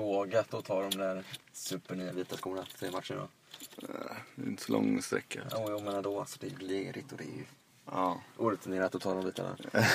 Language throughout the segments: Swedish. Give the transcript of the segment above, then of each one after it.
ögat och tar de där supernya vita skorna till matchen då. Det är inte så lång sträcka. Jo, jag menar då alltså. Det är lerigt och det är ju Ja. orutinerat att ta de bitarna.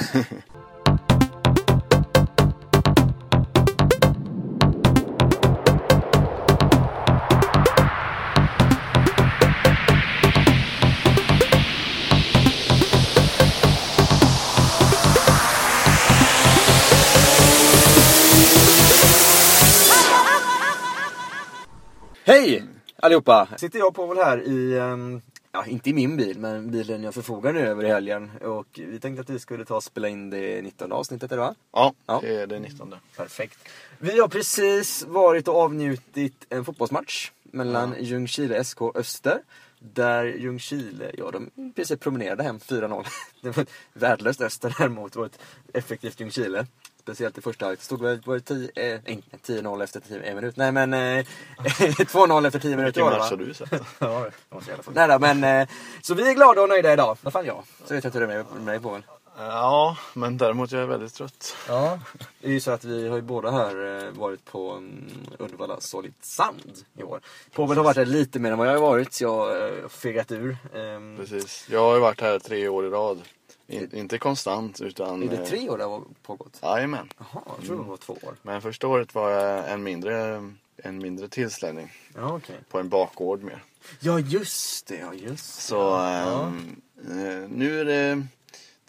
Hej allihopa! Sitter jag på väl här i, ehm, ja inte i min bil, men bilen jag förfogade över i helgen. Och vi tänkte att vi skulle ta och spela in det 19 avsnittet, eller va? Ja, Ja. det är det 19. Perfekt. Vi har precis varit och avnjutit en fotbollsmatch mellan Ljungskile SK Öster. Där Ljungskile, ja de i princip promenerade hem 4-0. Det var ett värdelöst Öster däremot och ett effektivt Ljungskile. Speciellt i första halvlek. Det stod väl var det 10, eh, nej, 10-0 efter 10 en minut. Nej men eh, 2-0 efter 10 minuter Vilken var det match har va? du sett? Ja, det var så jävla fort. Nej då, men eh, så vi är glada och nöjda idag. Vad fan jag? Så vet jag inte hur det är med- med dig Povel. ja, men däremot jag är väldigt trött. Ja, det är ju så att vi har ju båda här eh, varit på mm, Uddevalla Solid Sound i år. Povel har varit där lite mer än vad jag har varit, så jag har eh, fegat ur. Ehm, Precis. Jag har ju varit här tre år i rad. In, inte konstant utan... är det eh, tre år det har pågått? Jajamän. Jaha, jag tror det var två år. Men första året var jag en mindre, en mindre tillställning. Ja, okej. På en bakgård mer. Ja, just det, ja just det. Så ehm, eh, nu är det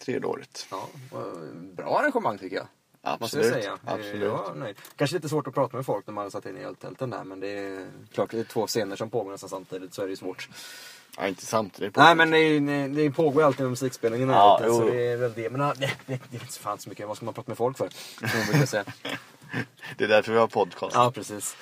tredje året. Ja, vad- bra arrangemang tycker jag. Måste jag Absolut. säga. Eh, Absolut. Jag var nöjd. Kanske lite svårt att prata med folk när man har satt in i öltälten där men det är klart det är två scener som pågår nästan samtidigt så är det ju svårt. Ja, inte samtidigt. på Nej året. men det, är ju- det pågår ju alltid en musikspelning i Ja, närheten så jo. det är väl det. Men ja, det, det, det är inte så fan så mycket, vad ska man prata med folk för? Som man brukar säga. Det är därför vi har podcast. Ja precis.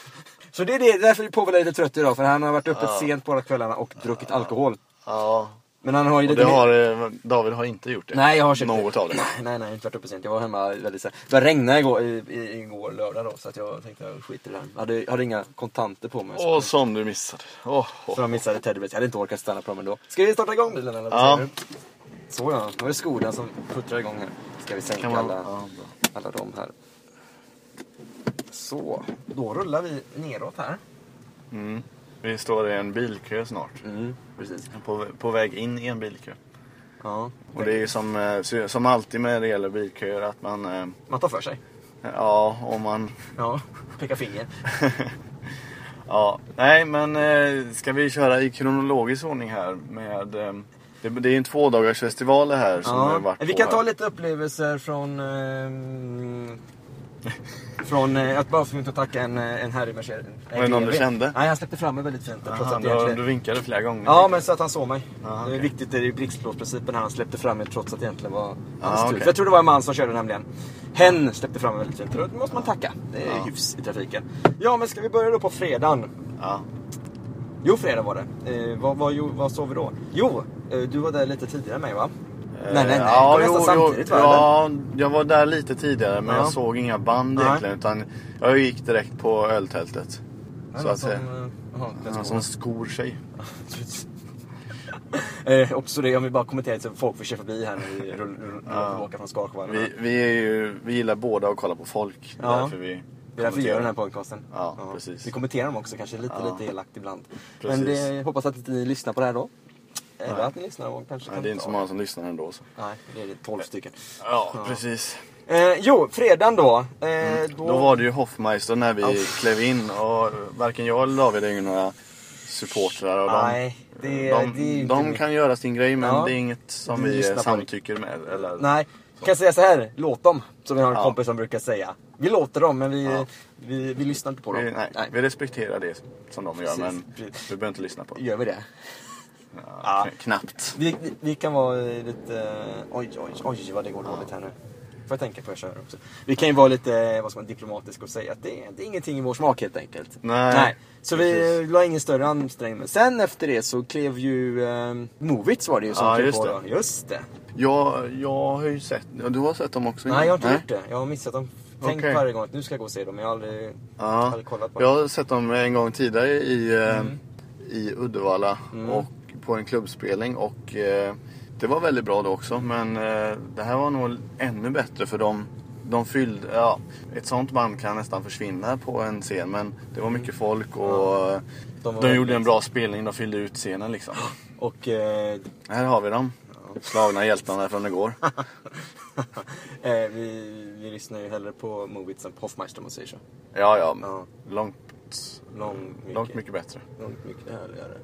Så det är det, därför är Povel lite trött idag för han har varit uppe Ja. sent båda kvällarna och druckit alkohol. ja. Men han har ju Och lite det mer- har, eh, David har inte gjort det. Nej jag har köpt Något av det. Nej nej, jag har inte varit uppe sent. Jag var hemma väldigt sent. Det regnade igår, i, i, igår lördag då så att jag tänkte jag skiter i det här. Jag hade, jag hade inga kontanter på mig. Åh, som du missade. Åh, åh. Så jag missade Teddybears. Jag hade inte orkat stanna på dem ändå. Ska vi starta igång bilen eller? vad Ja. säger du? Så ja, nu är det skolan som puttrar igång här. Ska vi sänka Kan man- alla, ja, bra. alla de här. Så, då rullar vi neråt här. Mm. Vi står i en bilkö snart. Mm, precis. På, på väg in i en bilkö. Ja. Och det är ju som, eh, så- som alltid när det gäller bilköer att man... eh, Man tar för sig. Ja, om man... Ja, pekar finger. Ja, nej men eh, ska vi köra i kronologisk ordning här med... eh, Det, det är ju en tvådagarsfestival det här som har Ja. varit Vi på kan här. ta lite upplevelser från... ehm, från eh, att bara få inte tacka en, eh, en herre i Mercedes. Var det någon du BMW. kände? Nej, han släppte fram mig väldigt fint. trots Aha, att du, det har- egentligen- du vinkade flera gånger. Ja, men så att han såg mig. Ah, Det är okej. viktigt, det är ju blixtlåsprincipen här. Han släppte fram mig trots att det egentligen var hans Ah, tur. okej. För jag tror det var en man som körde nämligen. Hen släppte fram mig väldigt fint. Då måste man tacka. Det är Ja. hyfs i trafiken. Ja, men ska vi börja då på fredagen? Ja. Jo, fredag var det. Eh, vad, vad, jo, vad såg vi då? Jo, eh, du var där lite tidigare än mig va? nej, nej, nej. Eh, det var nästan samtidigt va? eller? Ja, jag var där lite tidigare men Ja. jag såg inga band Nej. egentligen utan jag gick direkt på öltältet. Ja, så att säga. som, eh, jaha, den skolan. Han som skor sig. Eh, också det, om vi bara kommenterar så folk får köra förbi här när vi rullar rull, rull, tillbaka från Skarsjövallen. Vi, vi, är ju, vi gillar båda att kolla på folk. Det är Ja. därför vi Det är därför vi gör den här podcasten. Ja, precis. Vi kommenterar dem också, kanske lite, Ja. lite elakt ibland. Precis. Men det, jag hoppas att inte ni lyssnar på det här då. Eller att ni lyssnar och kanske Nej, kan det är inte ta- så många som lyssnar ändå. Så. Nej, det är det, 12 stycken. Ja, precis. Eh, jo, fredagen då. Eh, då. Mm. Då var det ju Hoffmeister när vi Uff. klev in och varken jag eller David är ju några supportrar av dem. Nej, det- de det är ju inte de mitt- kan göra sin grej men Ja. det är inget som Vi vi lyssnar på det. samtycker med. Eller... Nej, jag kan säga så här. Låt dem. Som vi har en Ja. kompis som brukar säga. Vi låter dem, men vi, Ja. vi, vi lyssnar inte på dem. Vi, nej, vi respekterar det som de gör Precis, men precis. vi behöver inte lyssna på det. Gör vi det? Ja, kn- Knappt. Vi, vi, vi kan vara eh, lite... eh, Oj, oj, oj vad det går dåligt här nu. Får jag tänka på jag kör också. Vi kan ju vara lite eh, vad ska man, diplomatisk och säga att det, är- det är ingenting i vår smak helt enkelt. Nej, Så vi precis. eh, la ingen större ansträngning. Men sen efter det så klev ju um, Movits var det ju som Ja, klev just på det. då. Just det. Jag, jag har ju sett, ja, du har sett dem också? Nej, jag har inte gjort det. Jag har missat dem. Tänk Okej. varje gång att nu ska jag gå och se dem. Jag har aldrig, Ja. aldrig kollat Mm. på Jag dem. har sett dem en gång tidigare i, eh, i Uddevalla Mm. och på en klubbspelning och eh, det var väldigt bra då också men eh, det här var nog ännu bättre för de de fyllde, ja, ett sånt band kan nästan försvinna på en scen men det var mycket folk och eh, De de, var gjorde väldigt- en bra spelning, de fyllde ut scenen liksom. Och eh, Här har vi dem. Slagna hjältarna från igår. eh, vi, vi lyssnar ju hellre på Movits än på Hoffmeister om man säger så. Ja, ja. Ja. Långt, Långt mycket. långt mycket bättre. Långt mycket härligare.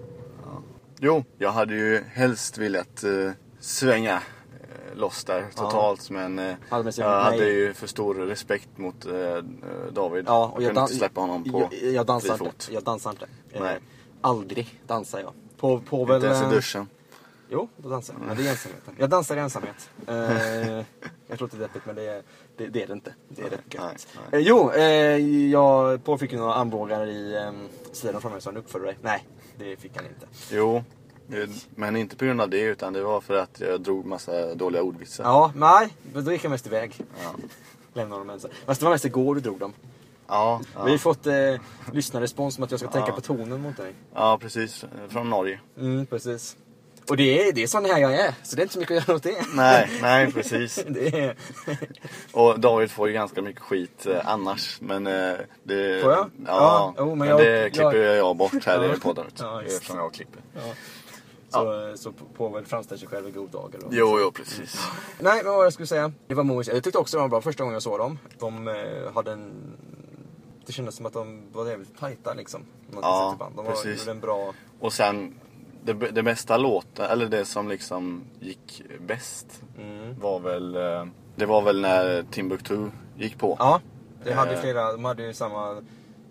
Jo, jag hade ju helst velat eh, svänga eh, loss där totalt men eh, Hade man sagt jag nej. hade ju för stor respekt mot eh, eh, David. Ja, och jag, kunde dan- inte släppa honom på jag, jag dansar fri inte. fot. Jag dansar inte. Eh, Nej. Aldrig dansar jag. På, på väl, Inte ens eh, i Mm. duschen. Jo, då dansar jag. Men det är ensamheten. Jag dansar i ensamhet. Eh, jag tror inte det är deppigt, men det är det, det, är det inte. Det är rätt gött. nej, Eh, nej. jo, eh, jag, Paul fick ju några armbågar i eh, sidan framför mig så han uppförde dig. Nej, det fick han inte. Jo, eh, men inte på grund av det utan det var för att jag drog massa dåliga ordvitsar. Ja, nej, men då gick han mest iväg. Ja. Lämnade honom ensam. Fast det var mest igår du drog dem. Ja, ja. Vi har fått eh, lyssnarrespons om att jag ska tänka Ja. på tonen mot dig. ja, precis. Eh, Från Norge. Mm, precis. Och det är, det är sån här jag är, så det är inte så mycket att göra åt det. Nej, nej precis. Det är... Och David får ju ganska mycket skit eh, annars. Men eh, det... Får jag? Ja, Ja, jo, men men, jag- det jag- klipper jag, bort här Ja. i podden. Ja, just. eftersom jag klipper. Ja. Så, så Povel framställer sig själv i god dager. då. Jo, jo, precis. Nej, men vad jag skulle säga. Det var Movies. Jag tyckte också de var bra första gången jag såg dem. De eh, hade en... Det kändes som att de var jävligt tajta liksom. om man Ja, sätter band. de var, precis. gjorde en bra... Och sen, det, det bästa låten, eller det som liksom gick bäst Mm. var väl... eh, Det var väl när Timbuktu gick på. Ja, det hade Eh. flera. De hade ju samma...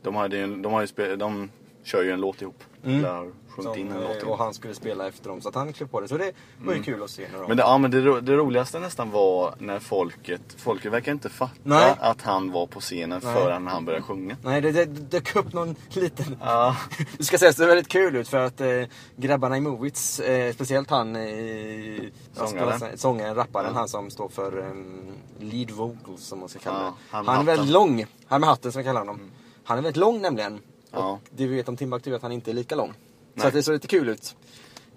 De, hade ju, en- de, har ju spe, de kör ju en låt ihop. Mm. Eller har sjungit in Som, en låt eh, och ihop. han skulle spela efter dem, så att han klev på det. Så det var ju kul att se. När de... Men, det, ja, men det, ro- det roligaste nästan var när folket, folket verkar inte fatta Nej. att han var på scenen Nej. förrän han började sjunga. Nej, det, det dök upp någon liten Ja, Det ska sägas, det är väldigt kul ut för att eh, grabbarna i Movits, eh, speciellt han eh, ja, Sångaren. spelar- sångaren, rapparen, Ja. han som står för eh, lead vocals som man ska kalla Ja, det. han Han, med är väldigt hatten. Mm. lång, han med hatten som vi kallar honom. Han är väldigt lång nämligen. Ja. Och det vi vet om Timbuktu är att han inte är lika lång. Nej. Så att det såg lite kul ut.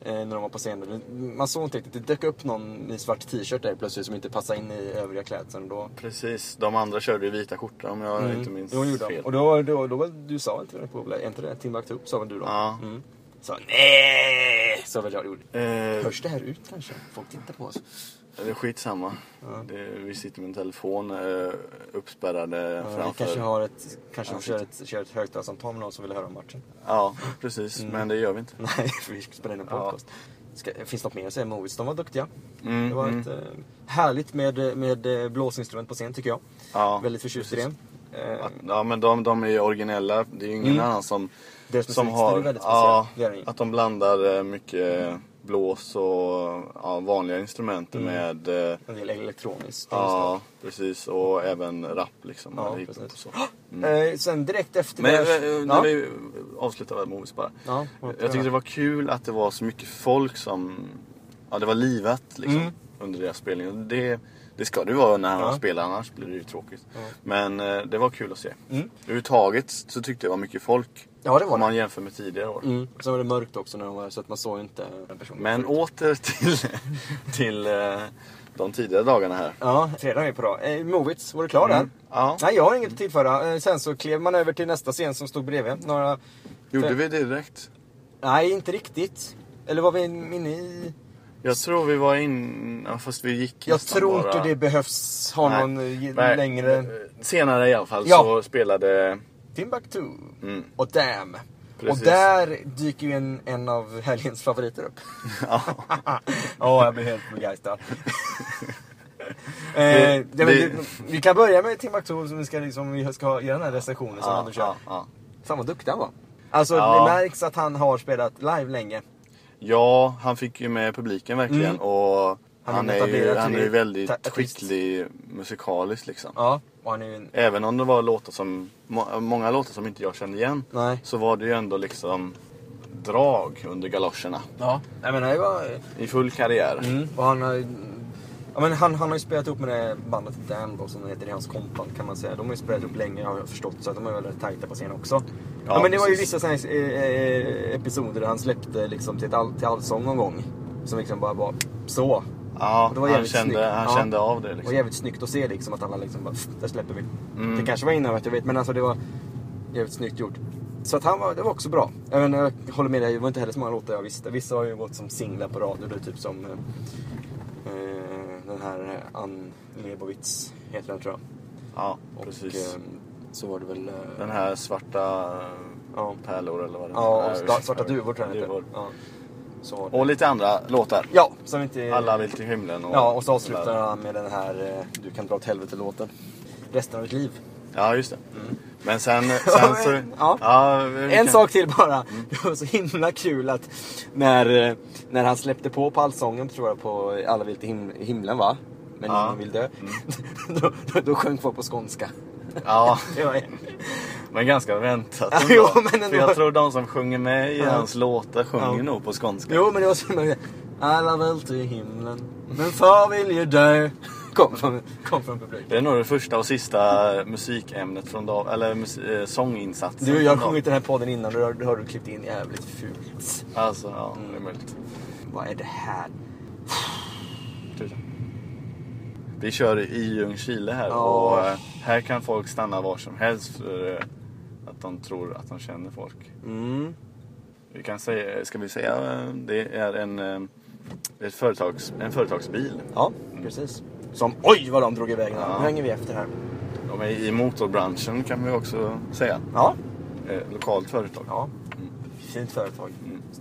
eh, När de var på scenen. Man såg inte riktigt, det dök upp någon i svart t-shirt där plötsligt som inte passade in i övriga klädseln. Då... precis. De andra körde ju vita skjortor om jag inte minns Mm. jo, gjorde de. fel. Och då, då, då, var- du sa inte det på är inte det Timbuktu sa väl du då? Ja. Mm. Sa nej sa väl jag gjorde. Eh, Hörs det här ut kanske? Folk tittar på oss. det är skitsamma. Det, vi sitter med en telefon eh, uppspärrade Ja, vi framför. kanske har ett, kanske Ja, de kör ett, kör ett högtalarsamtal med någon som vill höra om matchen. Ja, precis. Mm. Men det gör vi inte. Nej, för vi ska spela in en Ja. podcast. Ska, finns det något mer att säga? Movies, de var duktiga. Mm, det var mm. ett, eh, härligt med, med eh, blåsinstrument på scen tycker jag. Ja, Väldigt förtjust i det. precis. Eh, Ja, men de, de är ju originella. Det är ju ingen Mm. annan som, Deras som musikstil har... är väldigt speciell. ja, Det är det ju. att de blandar eh, mycket blås och ja, vanliga instrument Mm. med... eh, En del elektroniskt. Ja, precis. Och även rap liksom. Ja, eller hiphop precis. och så. Eh, sen direkt efter Mm. Men det- eh, eh, när Ja. vi avslutar med Movies bara. Ja, jag tyckte det var kul att det var så mycket folk som... Ja, det var livat liksom. Mm. Under deras spelning. Det, det ska det ju vara när han Ja. spelar, annars blir det ju tråkigt. Ja. Men eh, det var kul att se. Mm. Överhuvudtaget så tyckte jag det var mycket folk. Ja, det var Om det. man jämför med tidigare år. Mm. Sen var det mörkt också när de var så att man såg inte den personen. Men åter till, till eh, de tidigare dagarna här. Ja, fredag är vi på då. Eh, Movits, var du klar Mm. där? Ja. Nej, jag har inget att tillföra. Eh, sen så klev man över till nästa scen som stod bredvid. Några... Gjorde vi det direkt? Nej, inte riktigt. Eller var vi inne i... Jag tror vi var in... Ja, fast vi gick Jag nästan tror bara... inte det behövs ha Nej. någon eh, Nej, längre... eh, Senare i alla fall Ja. så spelade... Timbuktu Mm. och Damn. Precis. Och där dyker ju en, en av helgens favoriter upp. Ja. Ja, jag blir helt begeistrad. Eh, Det- ja, men det- vi, vi kan börja med Timbuktu som vi ska, liksom, vi ska ha- göra den här recensionen som han ja, kör. ja, ja. Fan vad duktig han var. Alltså Ja. det märks att han har spelat live länge. ja, han fick ju med publiken verkligen. Mm. Och Han han, är är ju, etablerad han är ju till- väldigt ta- artist. skicklig musikaliskt liksom. Ja. Och han är ju en... Även om det var låtar som... Må, många låtar som inte jag kände igen. Nej. Så var det ju ändå liksom drag under galoscherna. Ja. Nej men det var... I full karriär. Mm. Och han har ju... Ja, men han, han har ju spelat upp med det bandet Damn då, som det heter, det är hans kompband kan man säga. De har ju spelat upp länge har jag förstått, så att de är väldigt tajta på scen också. Ja, Ja, men det var ju precis. vissa såna här, eh, episoder där han släppte liksom till, ett all, till allsång någon gång. Som liksom bara var så. Ja, Och det var han, jävligt kände, snyggt. han Ja. kände av det Det var liksom. jävligt snyggt att se liksom att alla liksom bara, "Pff, där släpper vi. Mm. Det kanske var inövat, jag vet. Men alltså det var jävligt snyggt gjort. Så att han var, det var också bra. Även, jag håller med dig, det var inte heller så många låtar jag visste. Vissa har ju gått som singlar på radio, det är typ som eh, eh, den här eh, Ann Lebowitz, heter den tror jag. Ja, Och precis. eh, så var det väl... Eh, Den här svarta Ja, pärlor eller vad det ja är. och sta- Svarta duvor tror jag den Duvor. heter. Ja. Så var det. Och lite andra låtar. Ja, som inte... Alla vill till himlen. Och Ja, och så avslutar han med den här eh, Du kan dra åt helvete-låten. Resten av ditt liv. Ja, just det. Men sen, sen så... Mm. Ja. vi En kan- sak till bara. Det var så himla kul att när, eh, när han släppte på på Allsången tror jag på Alla vill till him- himlen va? Men Ja. ingen vill dö. då, då, då sjöng folk på skånska. Ja, Mm. Det var, men ganska väntat Ja, ändå. jo, men ändå. För jag tror de som sjunger med i Ja. hans låtar sjunger Ja. nog på skånska. jo men det var så himla Alla vill till himlen. Men far vill ju dö. Kom från, kom från publiken. Det är nog det första och sista musikämnet från Dav... Eller mus... eh, sånginsatsen. Du, jag har från Dav- sjungit den här podden innan och då har- då har du klippt in jävligt fult. Alltså, ja, Mm, det är möjligt. Vad är det här? Vi kör i Ljungskile här Ja. och eh, här kan folk stanna var som helst för eh, att de tror att de känner folk. Mm. Vi kan säga, ska vi säga, eh, det är en, eh, ett företags, en företagsbil. Ja, precis. Som oj vad de drog iväg. Ja. Nu hänger vi efter här. De är i motorbranschen kan vi också säga. Ja, Eh, Lokalt företag. Mm. Ja. Fint företag.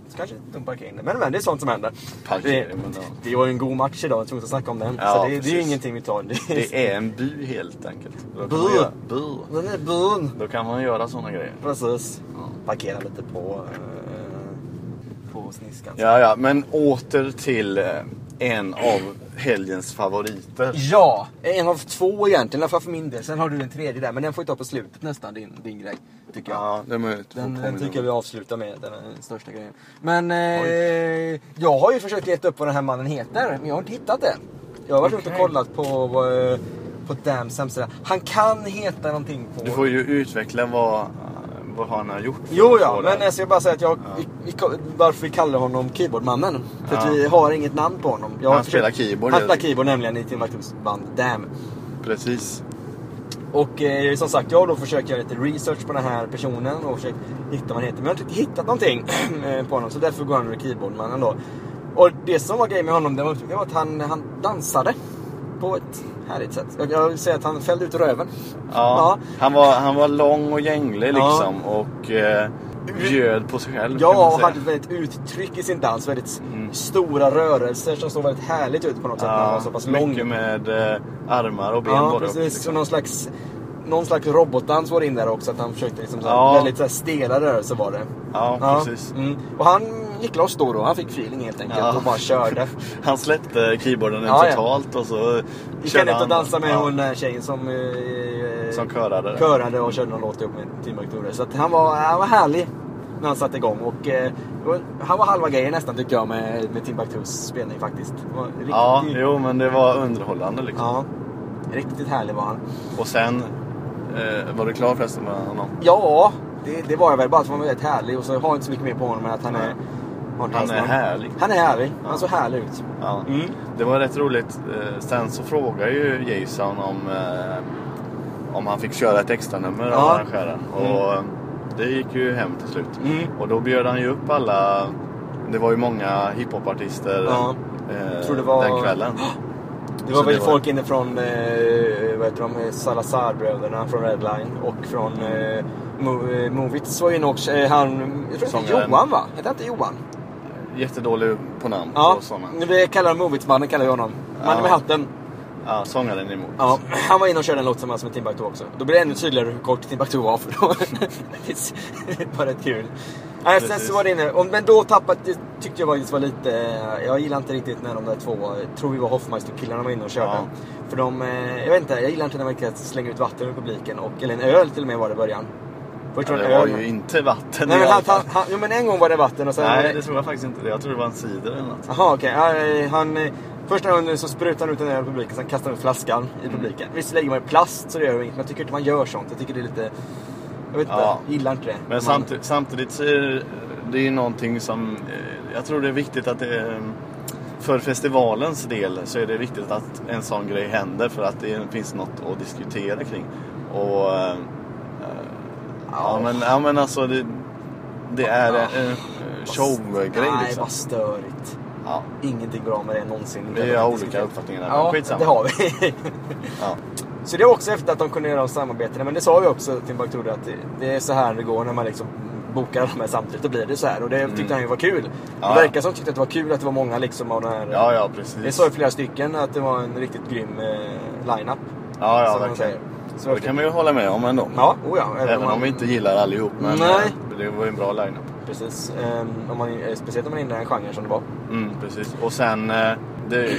Så Kanske de parkerar in det. Men, men det är sånt som händer. Parkerar, det, men ja. det var ju en god match idag, jag tror inte att snacka om den. Ja, så det, det är ju precis. ingenting vi tar. Det är... Det är en by helt enkelt. Då kan, Bu. man göra, bu. Den är bun. Då kan man göra sådana grejer. Precis. Ja. Parkera lite på... Eh, på sniskan. Ja, ja, men åter till eh, en av helgens favoriter. Ja, en av två egentligen, i alla fall för min del. Sen har du den tredje där, men den får vi ta på slutet nästan, din, din grej. Tycker jag. Ja, det är möjligt. Får Den, den påminna tycker jag om. vi avslutar med, den är den största grejen. Men eh, jag har ju försökt leta upp vad den här mannen heter, men jag har inte hittat det. Jag har varit ute och Okej. kollat på, eh, på Dams hemsida. Han kan heta någonting på... Du får ju utveckla vad, vad han har gjort. för Jo, att ja, få men det. jag ska bara säga att jag, Ja. vi, vi, ko- varför vi kallar honom Keyboardmannen. För att Ja. vi har inget namn på honom. Jag har Han spelar försökt- keyboard, Han helt spelar enkelt. keyboard nämligen i Tim Martins band Dam. Precis. Och eh, som sagt, jag har då försökt göra lite research på den här personen och försökt hitta vad han heter. Men jag har inte hittat någonting eh, på honom så därför går han under keyboardmannen då. Och det som var grejen med honom det var, det var att han, han dansade på ett härligt sätt. Jag, jag vill säga att han fällde ut röven. Ja, Han, var, han var lång och gänglig Ja. liksom och eh, bjöd på sig själv kan man Ja, och säga. hade väldigt uttryck i sin dans. Väldigt Mm. stora rörelser som såg väldigt härligt ut på något sätt när han var så pass lång. Mycket med eh, armar och ben Ja, både upp, precis. Så liksom. någon slags, någon slags robotdans var det in där också. Att han försökte liksom, så här, Ja. väldigt så här, stela rörelser var det. Ja, Ja, precis. Mm. Och han gick loss då, då. han fick feeling helt enkelt Ja. och bara körde. Han släppte keyboarden Ja, ja. totalt och så Gick han körde ut och dansade med ja, hon den här tjejen som, eh, Som körade. körade och körde någon låt ihop med Tim Victoria. Så att han, var, han var härlig när han satte igång. Och, eh, det var- han var halva grejen nästan tycker jag med, med Timbuktus spelning faktiskt. Det var riktigt, Ja, jo men det var underhållande liksom. ja, riktigt härlig var han. Och sen eh, var du klar förresten med honom? Ja, det, det var jag väl. Bara att han var väldigt härlig. Och så har jag inte så mycket mer på honom än att han är... har inte Han hans är namn. härlig. Han är härlig. Han Ja. såg härlig ut. Ja. Mm. Det var rätt roligt. Eh, Sen så frågade ju Jason om, eh, om han fick köra ett extranummer av Ja. arrangören. Och eh, det gick ju hem till slut. Mm. Och då bjöd han ju upp alla. Det var ju många hiphopartister Ja. eh, Tror det var- den kvällen. Det var Så väl det var- folk inifrån eh, vad heter de, Salazar-bröderna från Redline och från eh, Mo- eh, Movits var ju en också, eh, han, jag tror att det Sångaren. hette Johan va? Hette han inte Johan? Jättedålig på namn Ja, och sådana. det kallar de Movits-mannen kallar vi honom. Mannen Ja. med hatten. Ja, sångaren emot. Ja, han var inne och körde en låt tillsammans med Timbuktu också. Då blir det ännu tydligare hur kort Timbuktu var för då. det var rätt kul. Nej, sen Precis. så var det inne. och- Men då tappade, det tyckte jag faktiskt var lite, jag gillar inte riktigt när de där två, jag tror vi var Hoffmeister-killarna var inne och körde. Ja. För de, eh, jag vet inte, jag gillar inte när man kan slänga ut vatten ur publiken. Och, eller en öl till och med var det i början. Först Ja, var det en det var öl. ju inte vatten Nej i men alla han, han, fall. han, jo men en gång var det vatten och sen var Nej, det- det tror jag faktiskt inte. Jag tror det var en cider eller något. Jaha okej, Ja, eh, han... eh, Första gången så sprutar han ut den här i publiken, sen kastar han ut flaskan i Mm. publiken. Visst lägger man i plast så det gör inget, men jag tycker inte man gör sånt. Jag tycker det är lite... Jag vet inte, Ja. jag gillar inte det. Men samti- samtidigt så är det- det är ju någonting som... eh, Jag tror det är viktigt att det... eh, för festivalens del så är det viktigt att en sån grej händer för att det finns något att diskutera kring. Och... eh, eh, ja, men, ja men alltså det, det är en eh, showgrej Nej, liksom. vad störigt. Ja, Ingenting bra med det någonsin. vi har olika uppfattningar där, men Ja, skitsamma. det har vi. Ja. Så det är också efter att de kunde göra samarbeten. Men det sa vi också till Timbuktu att det- det är så här det går när man liksom bokar alla med samtidigt. Då blir det så här. Och det tyckte han ju var kul. Mm. Ja. Det verkar som att de tyckte att det var kul att det var många liksom av den här... Ja, ja precis. Det sa ju flera stycken att det var en riktigt grym eh, line-up. Ja, ja som man verkligen. säger. Så Det kan man ju hålla med om ändå. Ja, oh ja. Även om vi inte gillar allihop. Men Nej. eh, det var ju en bra line-up. Precis. Ehm, om man, eh, speciellt om man är inne i en genre som det var. Mm, precis. Och sen eh, det,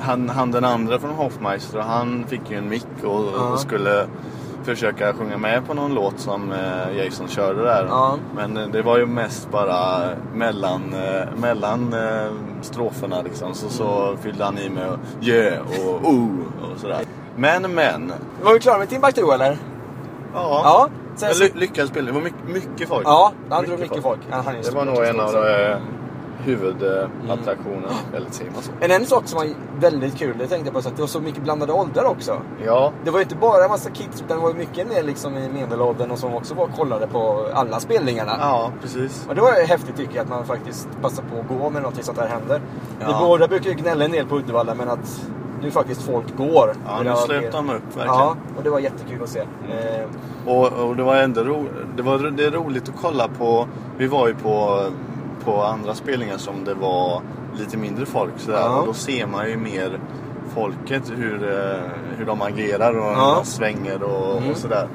han, han den andra från Hofmeister, han fick ju en mick och, Ja. och skulle försöka sjunga med på någon låt som eh, Jason körde där. Ja. Men eh, det var ju mest bara mellan, eh, mellan eh, stroferna liksom. Så, Mm. så fyllde han i med yeah och oh och sådär. Men men. Var vi klara med Timbuktu eller? Ja. Sen, Ly- lyckad spelning. Det var mycket, mycket folk. ja, han drog mycket folk. Ja, han är Det stor var nog en artist av också. eh, huvudattraktionerna. Mm. Eller säger man så? Men en sak som var väldigt kul, det tänkte jag på, så att det var så mycket blandade åldrar också. Ja. Det var ju inte bara en massa kids, utan det var ju mycket ner liksom i medelåldern och som också var och kollade på alla spelningarna. Ja, precis. Och det var ju häftigt tycker jag, att man faktiskt passar på att gå när någonting sånt här händer. Ja. Vi båda brukar ju gnälla en del på Uddevalla, men att nu faktiskt folk går. Och Ja, det nu var slöt fler- de upp verkligen. Mm. Ja, och det var jättekul att se. Eh, Och, och det var ändå ro, det var, det är roligt att kolla på. Vi var ju på, på andra spelningar som det var lite mindre folk sådär. Ja. Och då ser man ju mer folket hur, eh, hur de agerar och Ja. hur de svänger och, Mm. och sådär.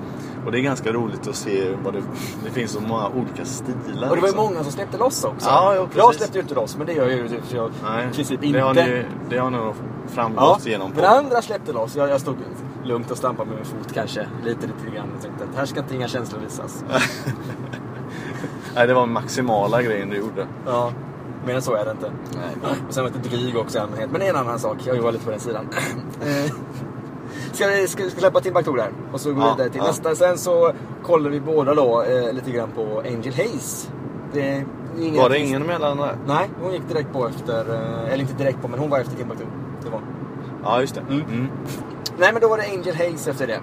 Och det är ganska roligt att se vad det, det finns så många olika stilar. och det var ju liksom. många som släppte loss också. Ja, ja, precis. jag släppte ju inte loss, men det gör ju typ, jag Nej, i princip Det har, inte. ni, det har nog framgått genom men andra släppte loss. Jag, jag stod lugnt och stampade med min fot kanske. Lite, lite grann. Jag tänkte att här ska inte inga känslor visas. Nej, det var maximala grejen du gjorde. Ja, mer än så är det inte. Nej. Och sen var jag lite dryg också i allmänhet. Men det är en annan sak. Jag var lite på den sidan. Eh, ska vi ska, vi släppa Timbuktu där? Och så går vi Ja, vidare till ja. nästa. Sen så kollar vi båda då eh, lite grann på Angel Hayes. Det, är ingen Var det ingen mellan där? Nej, hon gick direkt på efter... eh, Eller inte direkt på, men hon var efter Timbuktu. Det var. Ja, just det. Mm. Mm. Nej, men då var det Angel Hayes efter det.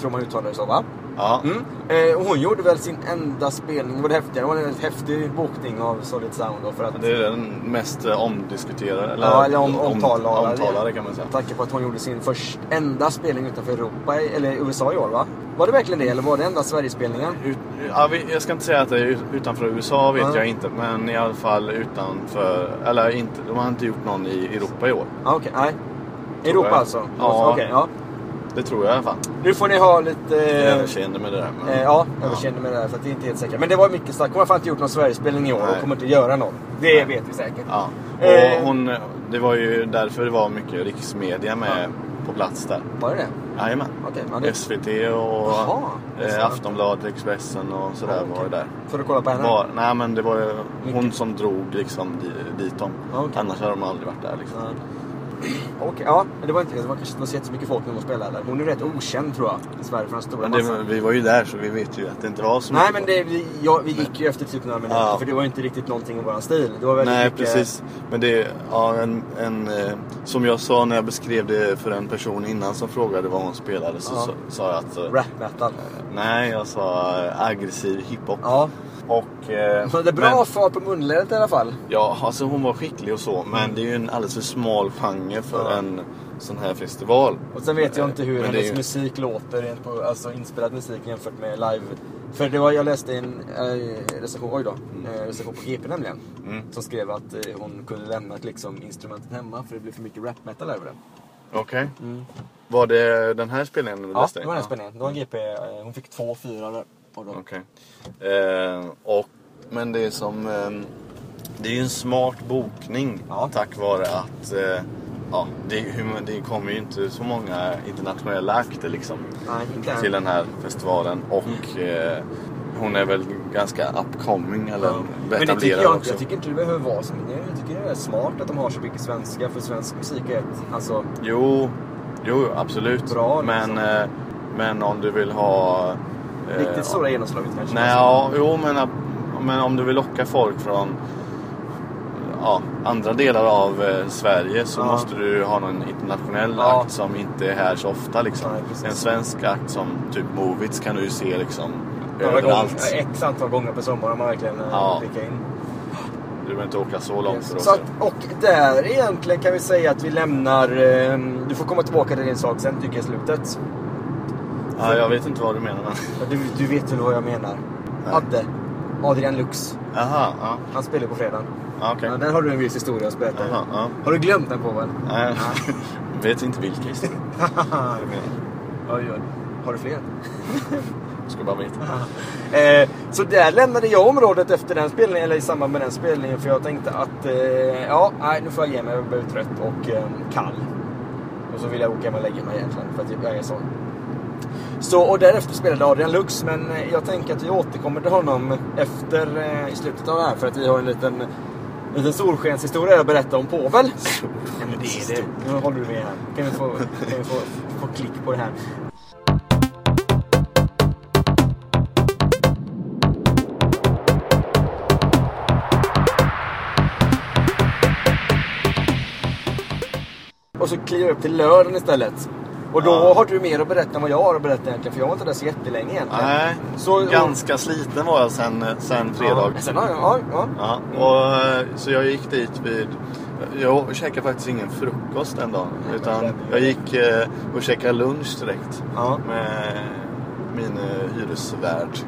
Tror man uttalar det så, va? Ja. Mm. Eh, och hon gjorde väl sin enda spelning, det var det häftiga. Det var en väldigt häftig bokning av Solid Sound då för att... Det är den mest eh, omdiskuterade. Eller, ja, eller om, om- omtalade. omtalade kan man säga. Med tanke på att hon gjorde sin först, enda spelning utanför Europa, i- eller USA i år va? Var det verkligen det, eller var det enda Sverigespelningen? Ut, ja, vi, jag ska inte säga att det är ut- utanför USA vet Ja. jag inte. Men i alla fall utanför. Eller inte, de har inte gjort någon i Europa i år. Ja, Ah, okej, nej. Europa jag. alltså? Ja. Okej, ja. Det tror jag i alla fall. Nu får ni ha lite... Jag eh, överseende med det där. men- Eh, ja, överseende med det här för att det är inte helt säkert. Men det var mycket starkt. Hon har fan inte gjort någon Sverigespelning i år och Nej. kommer inte göra någon. Det Nej. vet vi säkert. Ja. Eh. Och hon, det var ju därför det var mycket riksmedia med på plats där. Var det det? Jajamän. Okej, ja, det... SVT och Jaha, det är eh, så. Aftonbladet, Expressen och sådär Ja, okej. var ju där. För att kolla på henne? Var, nej men det var ju hon Mycket. som drog liksom di- dit dem. Ja, okej. Annars hade de aldrig varit där liksom. Ja. Okej, ja. Men det var inte... Det var kanske inte så jättemycket folk när hon spelade. eller? Hon är rätt okänd tror jag. I Sverige för den stora Men det, var- massan. vi var ju där så vi vet ju att det inte var så Nej mycket men folk. det, vi, ja, vi gick ju efter typ några minuter Ja. för det var ju inte riktigt någonting i våran stil. Det var väldigt Nej mycket... precis. Men det ja, en, en, eh, som jag sa när jag beskrev det för en person innan som frågade vad hon spelade så Ja. sa- sa jag att... eh, Rap metal. Nej, jag sa eh, aggressiv hiphop. Ja. Och... eh, Så det är bra men- fart på munlädret i alla fall. Ja, alltså hon var skicklig och så, men det är ju en alldeles för smal genre för Ja. en sån här festival. Och sen vet jag inte hur Men det är hennes ju- musik låter, rent på, alltså inspelad musik jämfört med live. För det var, jag läste en eh, recension, oj då, eh, recension på GP nämligen. Mm. Som skrev att eh, hon kunde lämna liksom, instrumentet hemma för det blev för mycket rap metal över det. Okej. Var det den här spelningen du Ja, Mm. läste? det var den spelningen. Det var en GP, eh, hon fick två fyra där. på dem. Okej. Eh, och, men det är som... ehm, det är ju en smart bokning Ja. tack vare att... Eh, ja, det, hur, man- det kommer ju inte så många internationella akter liksom Nej, Mm. inte än. till den här festivalen. Och eh, hon är väl ganska upcoming eller Ja. Men det tycker etablerad jag, också. jag tycker inte det behöver vara så. Men jag tycker det är smart att de har så mycket svenska. För svensk musik är ett, alltså, Jo, jo absolut. Bra, liksom. men, eh, men om du vill ha... eh, riktigt stora genomslaget kanske. Nej, ja, jo men, men om du vill locka folk från ja, andra delar av eh, Sverige så Ja. måste du ha någon internationell Ja. akt som inte är här så ofta. Liksom. Nej, precis. en svensk akt som typ Movits kan du ju se liksom, Några överallt. gånger, x antal gånger på sommaren man verkligen Ja. ja. in. Du behöver inte åka så långt för att Så se. att, och där egentligen kan vi säga att vi lämnar... ehm, du får komma tillbaka till din sak sen tycker jag i slutet. Ja, jag vet inte vad du menar men... Ja, Du, du vet ju vad jag menar. Nej. Adde, Adrian Lux. Aha, ja. Han spelar på fredag. ja Okej. Ja, där har du en viss historia att berätta. Aha, ja. Har du glömt den på väl? Nej, vet inte vilka historier. oj, oj. Har du fler? Ska bara veta. Eh, så där lämnade jag området efter den spelningen, eller i samband med den spelningen. För jag tänkte att, eh, ja, nej, nu får jag ge mig. Jag blev trött och eh, kall. Och så vill jag åka hem och lägga mig egentligen, för att jag är sån. Så, och därefter spelade Adrian Lux, men eh, jag tänker att vi återkommer till honom efter, eh, i slutet av det här. För att vi har en liten, en liten solskenshistoria att berätta om påvel. Ja, men det är det. Nu håller du med här. Kan vi få, kan vi få, få klick på det här. Och så kliver jag upp till lördagen istället. Och då Ja. har du mer att berätta än vad jag har att berätta egentligen. För jag var inte där så jättelänge egentligen. Nej, Så- ganska sliten var jag sen, eh, sen fredag. Ja, sen har jag, ja, ja. Ja, och, eh, så jag gick dit vid... Jag käkade faktiskt ingen frukost den dagen. Utan jag gick eh, och käkade lunch direkt. Ja. Med min eh, hyresvärd.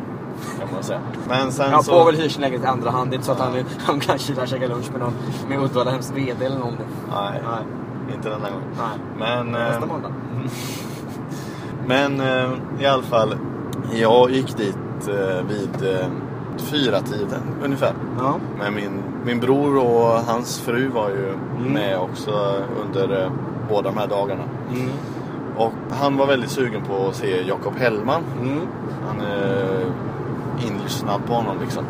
Kan man säga. Men sen Ja, så... Povel hyr sin lägenhet i andra hand. Det är inte så att han, han kanske där käkar lunch med någon med Uddevalla Hems VD eller någon. Nej, inte den här gången. Nej. Men, eh, Nästa måndag. men eh, i alla fall. Jag gick dit eh, vid eh, fyra tiden ungefär. Ja. Men min, min bror och hans fru var ju med också under eh, båda de här dagarna. Mm. Och han var väldigt sugen på att se Jakob Hellman. Mm. Han eh, inlyssnade på honom liksom.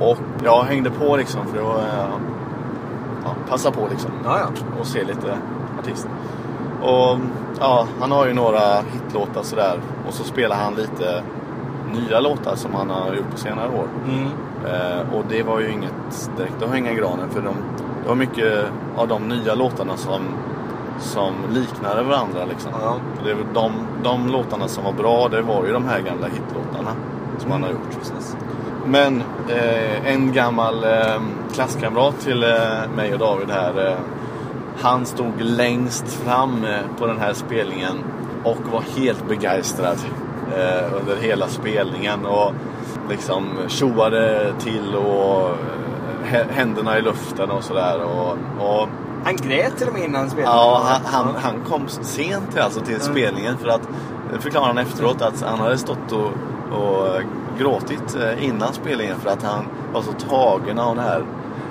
Och jag hängde på liksom för att eh, ja, passa på liksom Ja, ja. och se lite artist. Och ja, han har ju några hitlåtar sådär. Och så spelar han lite nya låtar som han har gjort på senare år. Mm. Eh, och det var ju inget direkt att hänga i granen för de, det var mycket av de nya låtarna som, som liknade varandra. Liksom. Ja. Det, var de, de låtarna som var bra det var ju de här gamla hitlåtarna som han har gjort. Precis. Men eh, en gammal eh, klasskamrat till eh, mig och David här. Eh, han stod längst fram eh, på den här spelningen och var helt begeistrad eh, under hela spelningen. Och liksom tjoade till och eh, hä- händerna i luften och sådär. Och, och Han grät till och med innan spelningen. Ja, han, han, Ja. han kom sent till, alltså, till Mm. spelningen för att det förklarar han efteråt att han hade stått och, och gråtit eh, innan spelningen för att han var så tagen av det här.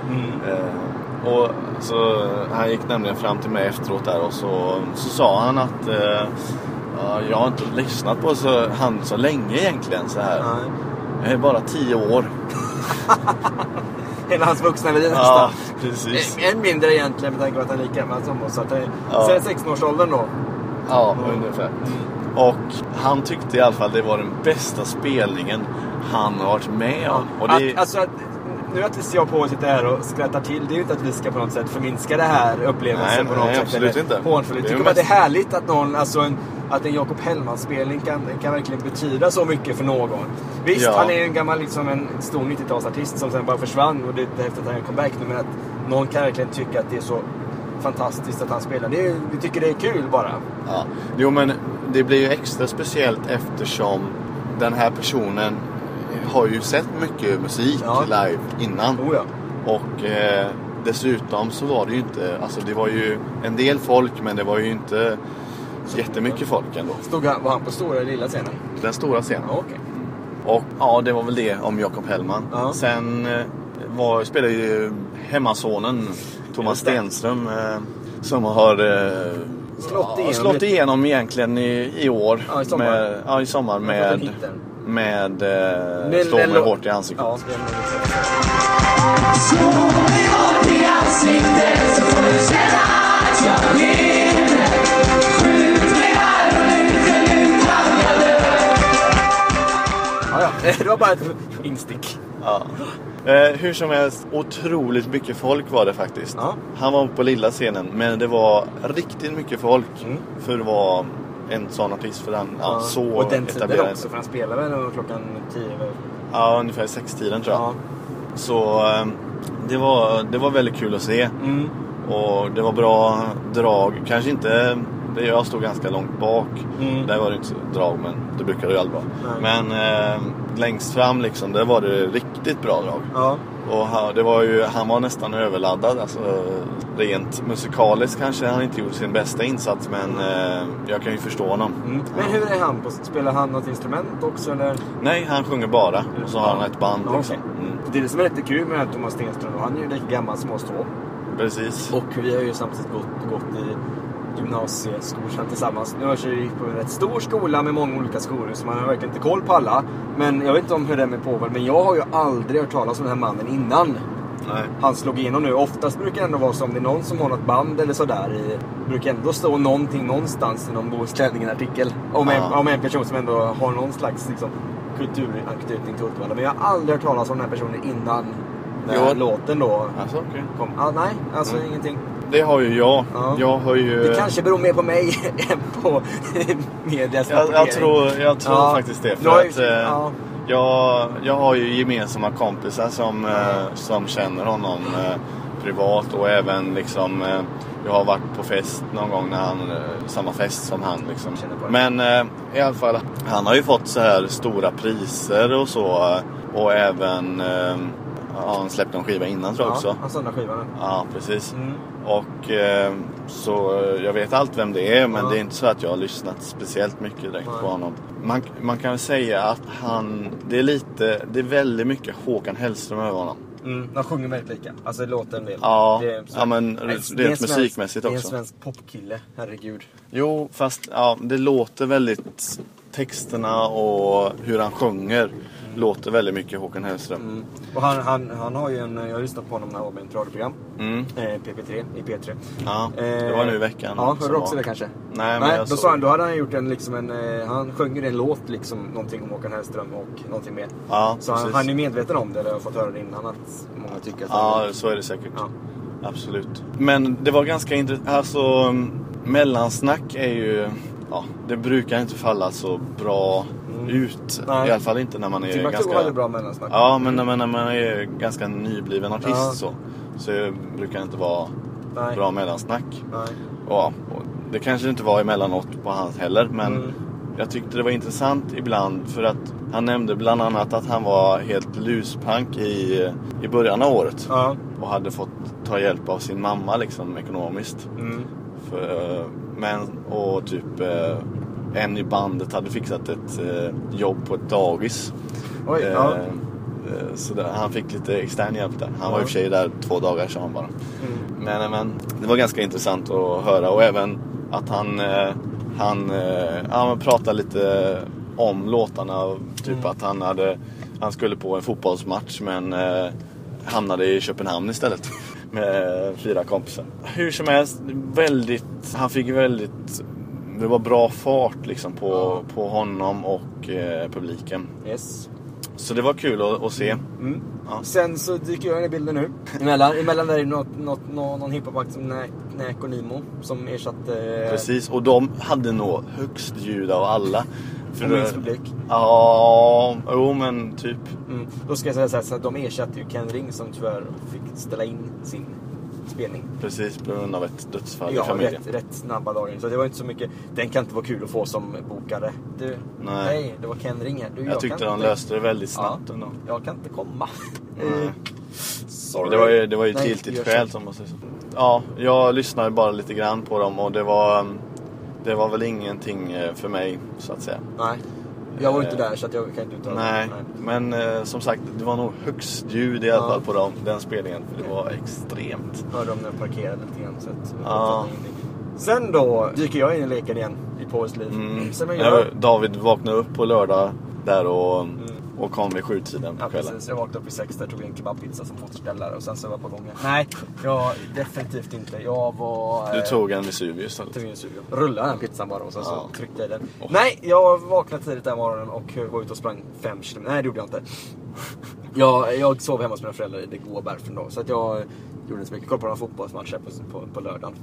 Mm. Eh, Och så, han gick nämligen fram till mig efteråt där och så, så sa han att eh, ja, jag har inte lyssnat på så, han så länge egentligen så här. Nej. Jag är bara tio år. Hela hans vuxna liv nästan. Ja, precis. En mindre egentligen med tanke på att han är lika gammal som oss. Så att det, Ja. Sen 16-årsåldern då. Ja, ungefär. Och han tyckte i alla fall det var den bästa spelningen han har varit med om. Och det, Att, alltså, att, nu att vi jag på och sitter här och skrattar till, det är ju inte att vi ska på något sätt förminska det här upplevelsen Nej, på något nej, sätt. absolut inte. Hånfullt. Jag Det är tycker ju bara att det är mest- härligt att någon, alltså en, att en Jakob Hellman-spelning kan, kan verkligen betyda så mycket för någon. Visst, Ja. han är ju en gammal, liksom en stor 90-talsartist som sen bara försvann och det är efter att han kom back nu, men att någon kan verkligen tycka att det är så fantastiskt att han spelar. Det är, ju- vi tycker det är kul bara. ja. Jo, men det blir ju extra speciellt eftersom den här personen har ju sett mycket musik Ja. live innan. Oh, ja. Och eh, dessutom så var det ju inte, alltså det var ju en del folk men det var ju inte jättemycket folk ändå. Stod han, var han på stora eller lilla scenen? Den stora scenen. Ja, okej. Och ja, det var väl det om Jakob Hellman. Ja. Sen eh, var, spelade ju hemmasonen Thomas Just det. Stenström eh, som har eh, Slått ja, igenom slått lite. igenom egentligen i, i år. Ja, i sommar. Med, ja, i sommar har fått en med, hit där. med eh, Men- Slå men- mig hårt i ansiktet. Ja, det är nog liksom. Ja, ja. Det var bara ett instick. Ja. Eh, hur som helst, otroligt mycket folk var det faktiskt. Ja. Han var på lilla scenen, men det var riktigt mycket folk Mm. för att vara en sån artist. För han, ja, så och den etablerad. tiden också, för han spelar väl runt klockan tio över? Ja, ungefär sextiden tror jag. Så eh, det var, det var väldigt kul att se. Mm. Och det var bra drag. Kanske inte... det- Jag stod ganska långt bak. Mm. Där var det inte så drag, men det brukar det ju aldrig vara. Nej. Men eh, längst fram liksom, där var det riktigt bra drag. Ja. Och han, det var ju, han var nästan överladdad. Alltså, rent musikaliskt kanske han inte gjorde sin bästa insats, men eh, jag kan ju förstå honom. Mm. Men hur är han? på Spelar han något instrument också eller? Nej, han sjunger bara. Och så har han ett band Ja, liksom. okej. Mm, Det är det som är lite kul med den här Thomas Stenström. då. Han är ju lika gammal som oss två. precis. Och vi har ju samtidigt gått, gått i gymnasieskolan tillsammans. Nu har jag ju på en rätt stor skola med många olika skolor så man har verkligen inte koll på alla. Men jag vet inte om hur det är med påven, men jag har ju aldrig hört talas om den här mannen innan. Nej. Han slog igenom nu. Oftast brukar det ändå vara som det är någon som har något band eller sådär. I, brukar ändå stå någonting någonstans i någon Bohusklänningen-artikel. Om, en- Ja. om en person som ändå har någon slags liksom, kulturanknytning till Uddevalla. Men jag har aldrig hört talas om den här personen innan den här Jo. låten då Alltså, okej. kom. Ah, nej, alltså Mm. Eh. ingenting. Det har ju jag. Ja. Jag har ju... Det kanske beror mer på mig än på medias Jag, jag rapportering. tror, jag tror Ja. faktiskt det. Du har För ju- att, eh, ja. jag, jag har ju gemensamma kompisar som, eh, som känner honom eh, privat och även liksom eh, jag har varit på fest någon gång när han, eh, samma fest som han liksom. Känner på det. Men eh, i alla fall, han har ju fått så här stora priser och så eh, och även eh, ja, han släppte en skiva innan tror jag också. Ja, han sålde skivan. Ja, precis. Mm. Och eh, så eh, jag vet allt vem det är men Ja. det är inte så att jag har lyssnat speciellt mycket direkt Nej. på honom. Man, man kan väl säga att han, det är lite, det är väldigt mycket Håkan Hellström över honom. Mm, de sjunger väldigt lika. Alltså det låter en del. Ja, Det är- ja, men Nej, det är en rent svensk- musikmässigt Det är en också. svensk popkille, herregud. Jo, fast ja, det låter väldigt, texterna och hur han sjunger låter väldigt mycket Håkan Hellström. Mm. Och han, han, han har ju en, jag har lyssnat på honom när han var med i ett radioprogram. Mm. Eh, PP3, i P3. Ja, det var nu i veckan. Eh, Ja, hörde som du också var. det kanske? Nej, men jag då, såg sa han, det. då hade han gjort en, liksom en eh, han sjöng ju en låt liksom, någonting om Håkan Hellström och någonting mer. Ja, Så han, precis. han är medveten om det, eller jag har fått höra det innan att många tycker att han Ja, så är det säkert. Ja. Absolut. Men det var ganska intressant. Alltså, mm, mellansnack är ju... Ja, det brukar inte falla så bra Mm. ut. Nej. I alla fall inte när man är Timbuktu ganska... hade bra mellansnack. Ja, men när man, när man är ganska nybliven artist Ja. så, så brukar det inte vara Nej. bra mellansnack. Nej. Ja, och det kanske inte var emellanåt på hans heller, men Mm. jag tyckte det var intressant ibland för att han nämnde bland annat att han var helt luspank i, i början av året Ja. och hade fått ta hjälp av sin mamma liksom ekonomiskt. Mm. För, eh, men, och typ eh, en i bandet hade fixat ett eh, jobb på ett dagis. Oj, Eh, ja. eh, Så där, han fick lite extern hjälp där. Han var i Ja. och för sig där två dagar sa han bara. Mm. Men, eh, men det var ganska intressant att höra och även att han, eh, han, eh, ja, men pratade lite om låtarna. Typ Mm. att han, hade, han skulle på en fotbollsmatch men eh, hamnade i Köpenhamn istället. Med fyra kompisar. Hur som helst, väldigt, han fick väldigt, det var bra fart liksom på, på honom och eh, publiken. Yes. Så det var kul att, att se. Mm. Ja. Sen så dyker jag in i bilden nu. Emellan, emellan där är det något, något, någon, någon hiphopakt som Nä- Näk och Nimo som ersatte... eh, Precis, och de hade nog högst ljud av alla. Och minst publik. Ja, jo men typ. Mm. Då ska jag säga så här, så att de ersatte ju Ken Ring som tyvärr fick ställa in sin spelning. Precis på grund av ett dödsfall i Ja, familjen. rätt, rätt snabba dagar. Så det var inte så mycket, den kan inte vara kul att få som bokare. Du, nej, det var Ken Ring här. Du, Jag, tyckte kan de inte- löste det väldigt snabbt Ja. ändå. Jag kan inte komma. Nej. Eh, Sorry. Det var ju, det var ju ett Nej, giltigt gör skäl så. som man säger så. Ja, jag lyssnade bara lite grann på dem och det var, um, det var väl ingenting eh, för mig så att säga. Nej. Jag var ju inte Eh, där så att jag kan inte uttala mig. Nej, men eh, som sagt det var nog högst ljud i alla Ja. fall på dem, den spelningen. För det var extremt. Hörde om den parkerade lite grann. Så att, Ja. Sen då dyker jag in i leken igen i Påves liv. Mm. Som jag Jag, gör. Mm. David vaknade upp på lördag där och, och kom vid sjutiden Ja, på kvällen. precis. Jag vaknade upp i sex där, tog en kebabpizza som återställare och sen så var jag på gång igen. Nej, jag, definitivt inte. Jag var... Du eh, tog en Vesuvius istället. tog in sugrör. Rullade den pizzan bara och sen så Ja. tryckte jag i den. Och- Nej, jag vaknade tidigt den morgonen och var ute och sprang fem kilometer. Nej, det gjorde jag inte. Ja, jag sov hemma hos mina föräldrar i det goa Berfendal. Så att jag gjorde inte så mycket. Kollade på några fotbollsmatcher på, på, på lördagen.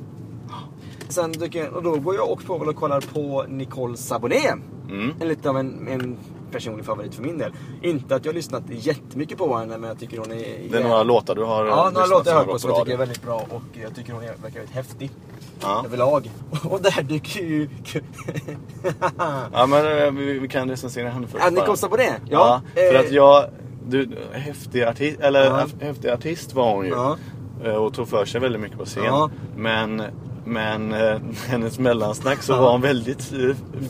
Sen dyker jag, och då går jag också på och kollar på Nicole Saboné. Mm. En lite av en, en personlig favorit för min del. Inte att jag har lyssnat jättemycket på henne men jag tycker hon är... Det är några låtar du har eh, Ja, några lyssnat låtar jag har hört som på som har jag gått tycker är radio. väldigt bra och jag tycker hon är, verkar väldigt häftig. Ja. Överlag. Och där dyker ju... Ja, men eh, vi, vi kan recensera henne först. Ja, ni bara. kostar på det? Ja, för eh, att jag... Du, häftig, artist, eller, Ja. häftig artist var hon ju. Ja. Eh, Och tog för sig väldigt mycket på scen. Ja. Men, men eh, hennes mellansnack så Ja. var hon väldigt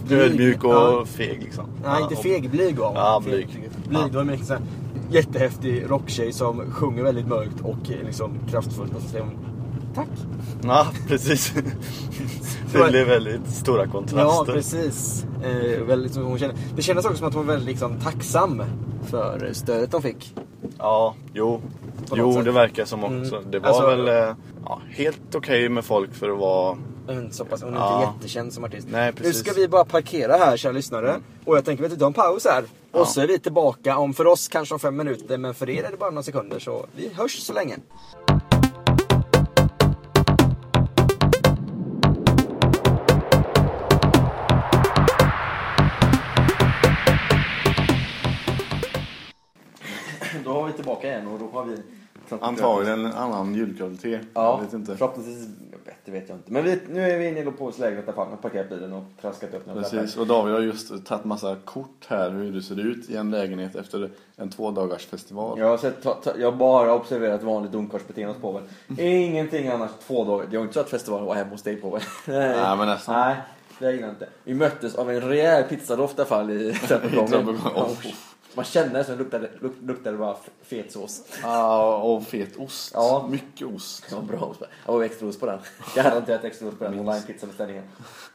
eh, ödmjuk och Ja. feg liksom. Nej, inte och- feg. Blyg var hon. Ja, Feg, blyg. Blyg, Ja. det var mer liksom såhär jättehäftig rocktjej som sjunger väldigt mörkt och eh, liksom kraftfullt. Och så säger hon tack. Ja, precis. det blev väldigt stora Ja, kontraster. precis. Eh, väldigt, som hon känner, det kändes också som att hon var väldigt liksom, tacksam för stödet de fick. Ja, jo. På något Jo, sätt. det verkar som också. Mm. Det var Alltså- väl eh, ja, helt okej med folk för att vara... Mm, Så pass, hon är Ja. inte jättekänd som artist. Nej, nu precis. ska vi bara parkera här kära lyssnare. Och jag tänker att vi tar en paus här. Ja. Och så är vi tillbaka om för oss kanske om fem minuter men för er är det bara några sekunder så vi hörs så länge. Då var vi tillbaka igen och då har vi Antagligen en annan julkvalitet. Ja, Jag vet inte. förhoppningsvis bättre vet jag inte. Men vi, nu är vi inne i Lopovs lägenhet där Palme har parkerat bilen och traskat upp några Precis, och David har just tagit massa kort här hur det ser ut i en lägenhet efter en tvådagars festival. Jag har, sett, ta, ta, jag har bara observerat vanligt domkarsbeteende hos påven. Ingenting annars. Två dagar. Det var inte så att festivalen var hemma hos dig påven. Nej. Nej, men nästan. Nej, det gillar jag inte. Vi möttes av en rejäl pizzadoft i alla fall i trappuppgången. trappuppgången. Ja. Oj. Man kände det som det luktade, luk, luktade bara f- fetsås. Ja, och fet ost. Ja. Mycket ost. Ja, bra ost. Ja, och extra ost på den. Garanterat extra ost på den online-pizzabeställningen.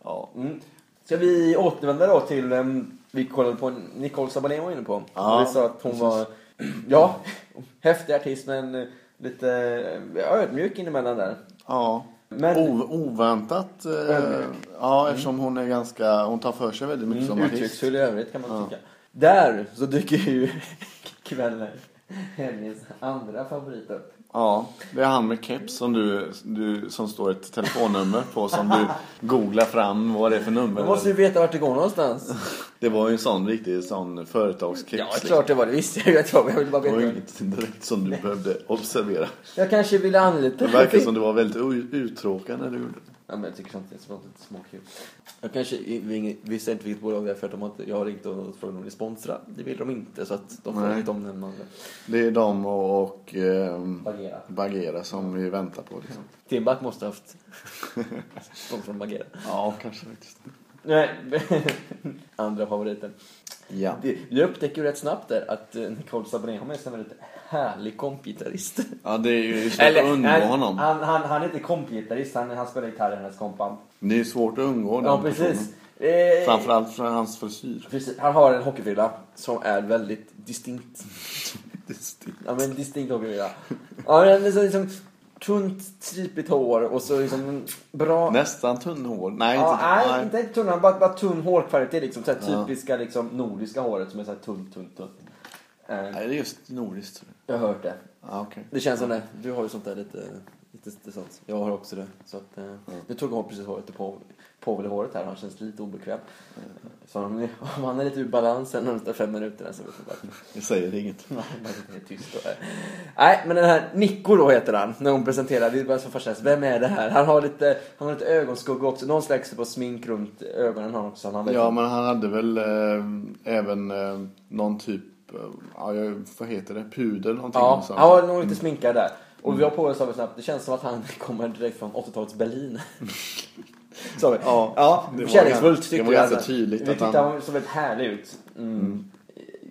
Ja. Mm. Ska vi återvända då till, ehm, vi kollade på Nicole Sabané var inne på. Ja, och vi sa att hon var, ja, häftig artist men eh, lite eh, ödmjuk inemellan där. Ja. Men- O- oväntat. Eh, Ödmjuk. ja, eftersom hon är ganska... Hon tar för sig väldigt mycket som artist. Mm, Uttrycksfull i övrigt kan man tycka. Där så dyker ju kvällen hennes andra favorit upp. Ja, det är han med keps som du, du som står ett telefonnummer på som du googlar fram vad det är för nummer. Man måste ju veta vart det går någonstans. Det var ju en sån riktig sån företagskeps. liksom. Ja, klart det var det. Visste jag ju att jag var. Jag ville bara Det var ju veta. inget direkt som du behövde observera. Jag kanske ville anlita Det verkar som du var väldigt u- uttråkad när du gjorde det. Ja, men jag tycker sånt är sånt är småkul. Jag kanske vi- visste inte vilket bolag det är för att de har inte, jag har ringt och frågat om de är sponsrade. Det vill de inte så att de får Nej. inte omnämna det. Det är de och, och ehm, Bagheera. Bagheera som vi väntar på. Liksom. Timbuk måste ha haft någon från Bagheera. Ja, kanske faktiskt. Nej, andra favoriten. Ja. Det- Jag upptäcker ju rätt snabbt där att eh, Nicole Sabrén har med sig en väldigt härlig kompgitarrist. ja, det är ju det är svårt att undgå nej, honom. Han, han, han är inte kompgitarrist, han, han spelar gitarr i hennes kompband. Det är ju svårt att undgå den Ja, precis. personen. Eh, Framförallt för hans frisyr. precis. Han har en hockeyfrilla som är väldigt distinkt. Distinkt. Ja men distinkt hockeyfrilla. Ja men det är så liksom tunt, stripigt hår och så liksom en bra... Nästan tunnhår. Nej, ja, inte, nej, inte tunn, bara, bara tunn hårkvalitet liksom. Så här Ja. typiska liksom nordiska håret som är så här tunt, tunt, tunt. Eh, Nej, det är just nordiskt. tror jag. jag har hört det. Ja, okej. Det känns som det. Du har ju sånt där lite, lite, lite sånt. Jag har också det. Så att, eh, Nu tog hon precis håret på Povel håret här. Han känns lite obekväm. Så om, ni- om han är lite ur balans de närmsta fem minuterna så vet jag bara. Jag säger inget. Man sitter helt tyst då. Nej, men den här Nico då heter han. När hon presenterar, det är bara så fascinerande. Vem är det här? Han har lite, han har lite ögonskugga också. Någon slags på smink runt ögonen har han också. Han vet Ja, inte. men han hade väl eh, även eh, någon typ, eh, ja, jag- vad heter det, pudel någonting. Ja, Mm. någonstans. han var nog lite sminkad där. Och vi har på oss av det snabbt, det känns som att han kommer direkt från 80-talets Berlin. Sa vi. Mm. Ja, ja det var kärleksfullt gans- tyckte det var vi ganska alla. tydligt Vi att tyckte han- han såg väldigt härlig ut. Mm.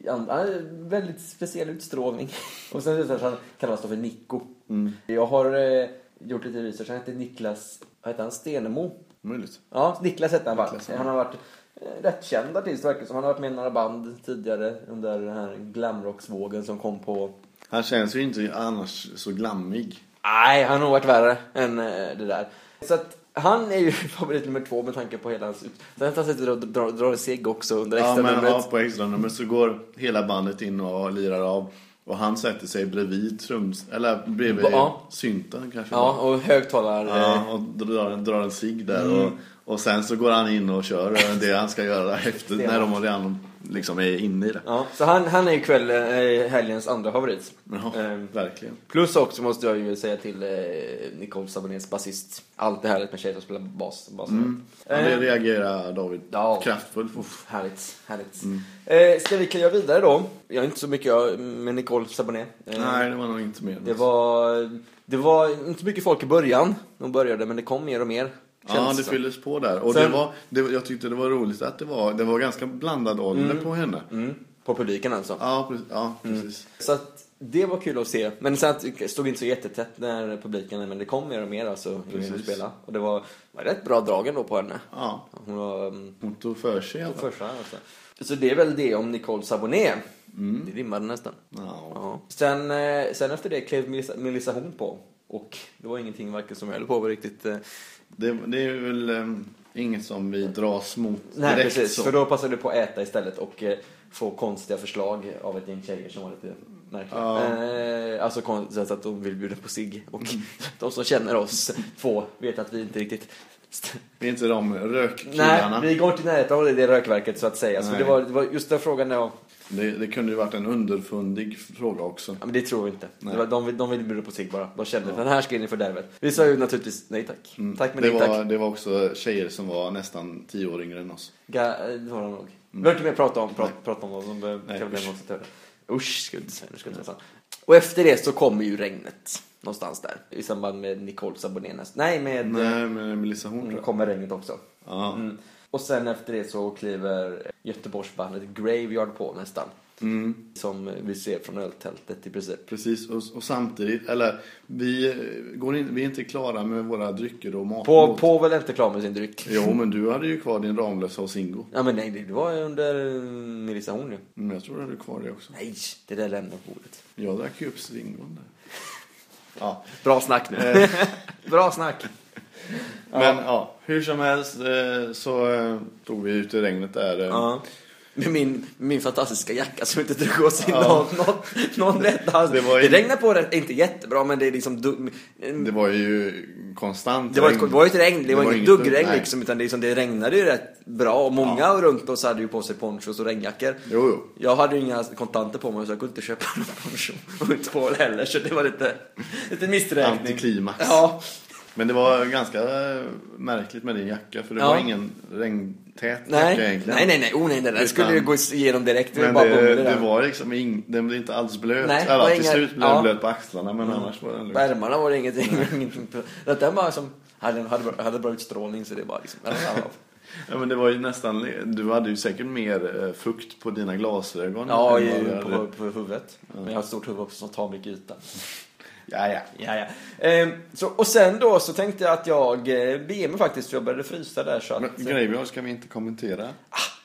Han han hade en väldigt speciell utstrålning. Och sen är det så att han kallas då för Nico. Mm. Jag har eh, gjort lite research, han heter Niklas, vad heter han, Stenemo? Möjligt. Ja, Niklas hette han Niklas, bara. ja. Han har varit eh, rätt känd artist verkar det som. Han har varit med i några band tidigare under den här glamrocksvågen som kom på Han känns ju inte annars så glammig. Nej, han har nog varit värre än eh, det där. Så att Han är ju favorit nummer två med tanke på hela hans... ut- Sen att han sitter och drar, drar en cigg också under Ja, extra men numret. ja, på extranumret så går hela bandet in och lirar av. Och han sätter sig bredvid trums... Eller bredvid Ja. synten kanske. Ja, och högtalare... Ja, och drar, drar en cigg där. Och, och sen så går han in och kör det han ska göra efter när de och redan liksom är inne i det. Ja, så han, han är ju kväll, eh, helgens andra favorit. Ja, Ehm, verkligen. plus också måste jag ju säga till eh, Nicole Sabonés basist. Allt det här med tjejer som spelar bas. bas Mm. Ja, det reagerar David Eh. Ja. kraftfullt på. Härligt, härligt. Mm. Eh, ska vi kliva vidare då? Jag är inte så mycket jag- med Nicole Saboné. Eh, Nej, det var nog inte mer. Det var, det var inte så mycket folk i början. De började, men det kom mer och mer. Ja, kändes det som. fylldes på där. Och det Sen- var, det, var- jag tyckte det var roligt att det var, det var ganska blandad ålder på henne. Mm, på publiken alltså. Ja, precis. Ja, precis. Så att det var kul att se. Men sen att det stod inte så jättetätt när publiken, men det kom mer och mer alltså. Precis. Precis. Spela. Och det var, var rätt bra drag ändå på henne. Ja, Hon var um, hon tog för sig i alla fall. första alltså. Så det är väl det om Nicole Saboné. Mm. Det rimmade nästan. Ja. Ja. Sen, eh, sen efter det klev Melissa, Melissa Horn på. Och det var ingenting varken som jag höll på med riktigt. eh. Det, det är väl ehm, inget som vi dras mot direkt Nej precis, så. för då passade du på att äta istället och eh, få konstiga förslag av ett gäng tjejer som var lite märkliga. Ja. Mm. Eh, alltså konstigt att de vill bjuda på sig och de som känner oss två vet att vi inte riktigt... Det är inte de Nej, rökkillarna. vi går inte i närheten av det, det rökverket så att säga. Så Nej. det var, det var just den frågan där jag... Det, det kunde ju varit en underfundig fråga också. Ja, men det tror vi inte. Nej. Det var, de, vill- de ville bjuda på sig bara. De kände den här ska in i fördärvet. Vi sa ju naturligtvis nej tack. Tack men Mm. det, nej tack. var, det var också tjejer som var nästan tio år yngre än oss. Ga- eh, det var de nog. Vi behöver inte mer prata om, prata, Mm. Nej. prata om vad som behöver Nej, kan vi usch. lämna oss till det. Usch, ska vi inte säga. Nu ska vi inte säga. så. Och efter det så kommer ju regnet. Någonstans där. I samband med Nicole Saboné näst. Nej, med... Nej, men Melissa Horn Då tror jag. kommer regnet också. Mm. Ja. Mm. Och sen efter det så kliver Göteborgsbandet Graveyard på nästan. Som vi ser från öltältet i princip. mm, Precis, och, och samtidigt, eller vi, eh, går in, vi är inte klara med våra drycker och mat. På, på väl inte klar med sin dryck. Jo, men du hade ju kvar din Ramlösa och Singo. Ja men nej, det var ju under eh, Melissa Horn ju. Mm, jag tror du hade kvar det också. Nej, det där lämnar bordet. Jag drack ju upp Singon där. Ja. Bra snack nu. Eh. Bra snack. Men ja, hur som helst eh, så eh, tog vi ut i regnet där. eh. Ja. Med min, min fantastiska jacka som inte drog åt sig Ja. någon, någon, någon rätt alls. Det Det, var ju- regnade på det, inte jättebra men det är liksom... Du, Det var ju konstant det var, regn. ett, det var ju ett regn, det, var, inget inget- duggregn nej. liksom utan det, liksom, det regnade ju rätt bra och många runt oss hade ju på sig ponchos och regnjackor. Jo, jo. Jag hade ju inga kontanter på mig så jag kunde inte köpa någon poncho och inte på det heller så det var lite, lite missräkning. Antiklimax. Ja, Men det var ganska eh, märkligt med din jacka för det Ja. var ingen regntät nej. jacka egentligen. nej, nej, nej, oh, nej, det där Utan- skulle ju gå igenom direkt. Det var Men bara det, bomull där. det var liksom ing, den blev inte alls blöt. Nej, det Eller var till inga- slut blev den ja. Mm. blöt på axlarna men annars var den På lugn. ärmarna var det ingenting. ingenting på- att den bara som, hade, hade, bra- hade bra utstrålning så det bara liksom... ja, ja, Ja, men det var ju nästan, du hade ju säkert mer eh, fukt på dina glasögon. Ja, än i- vad du på, hade. på huvudet. Men jag har ett stort huvud också som tar mycket yta. Ja, ja. Ja, ja. Ehm, så, och sen då så tänkte jag att jag eh, beger mig faktiskt för jag började frysa där så att... Men Graveyard ska vi inte kommentera.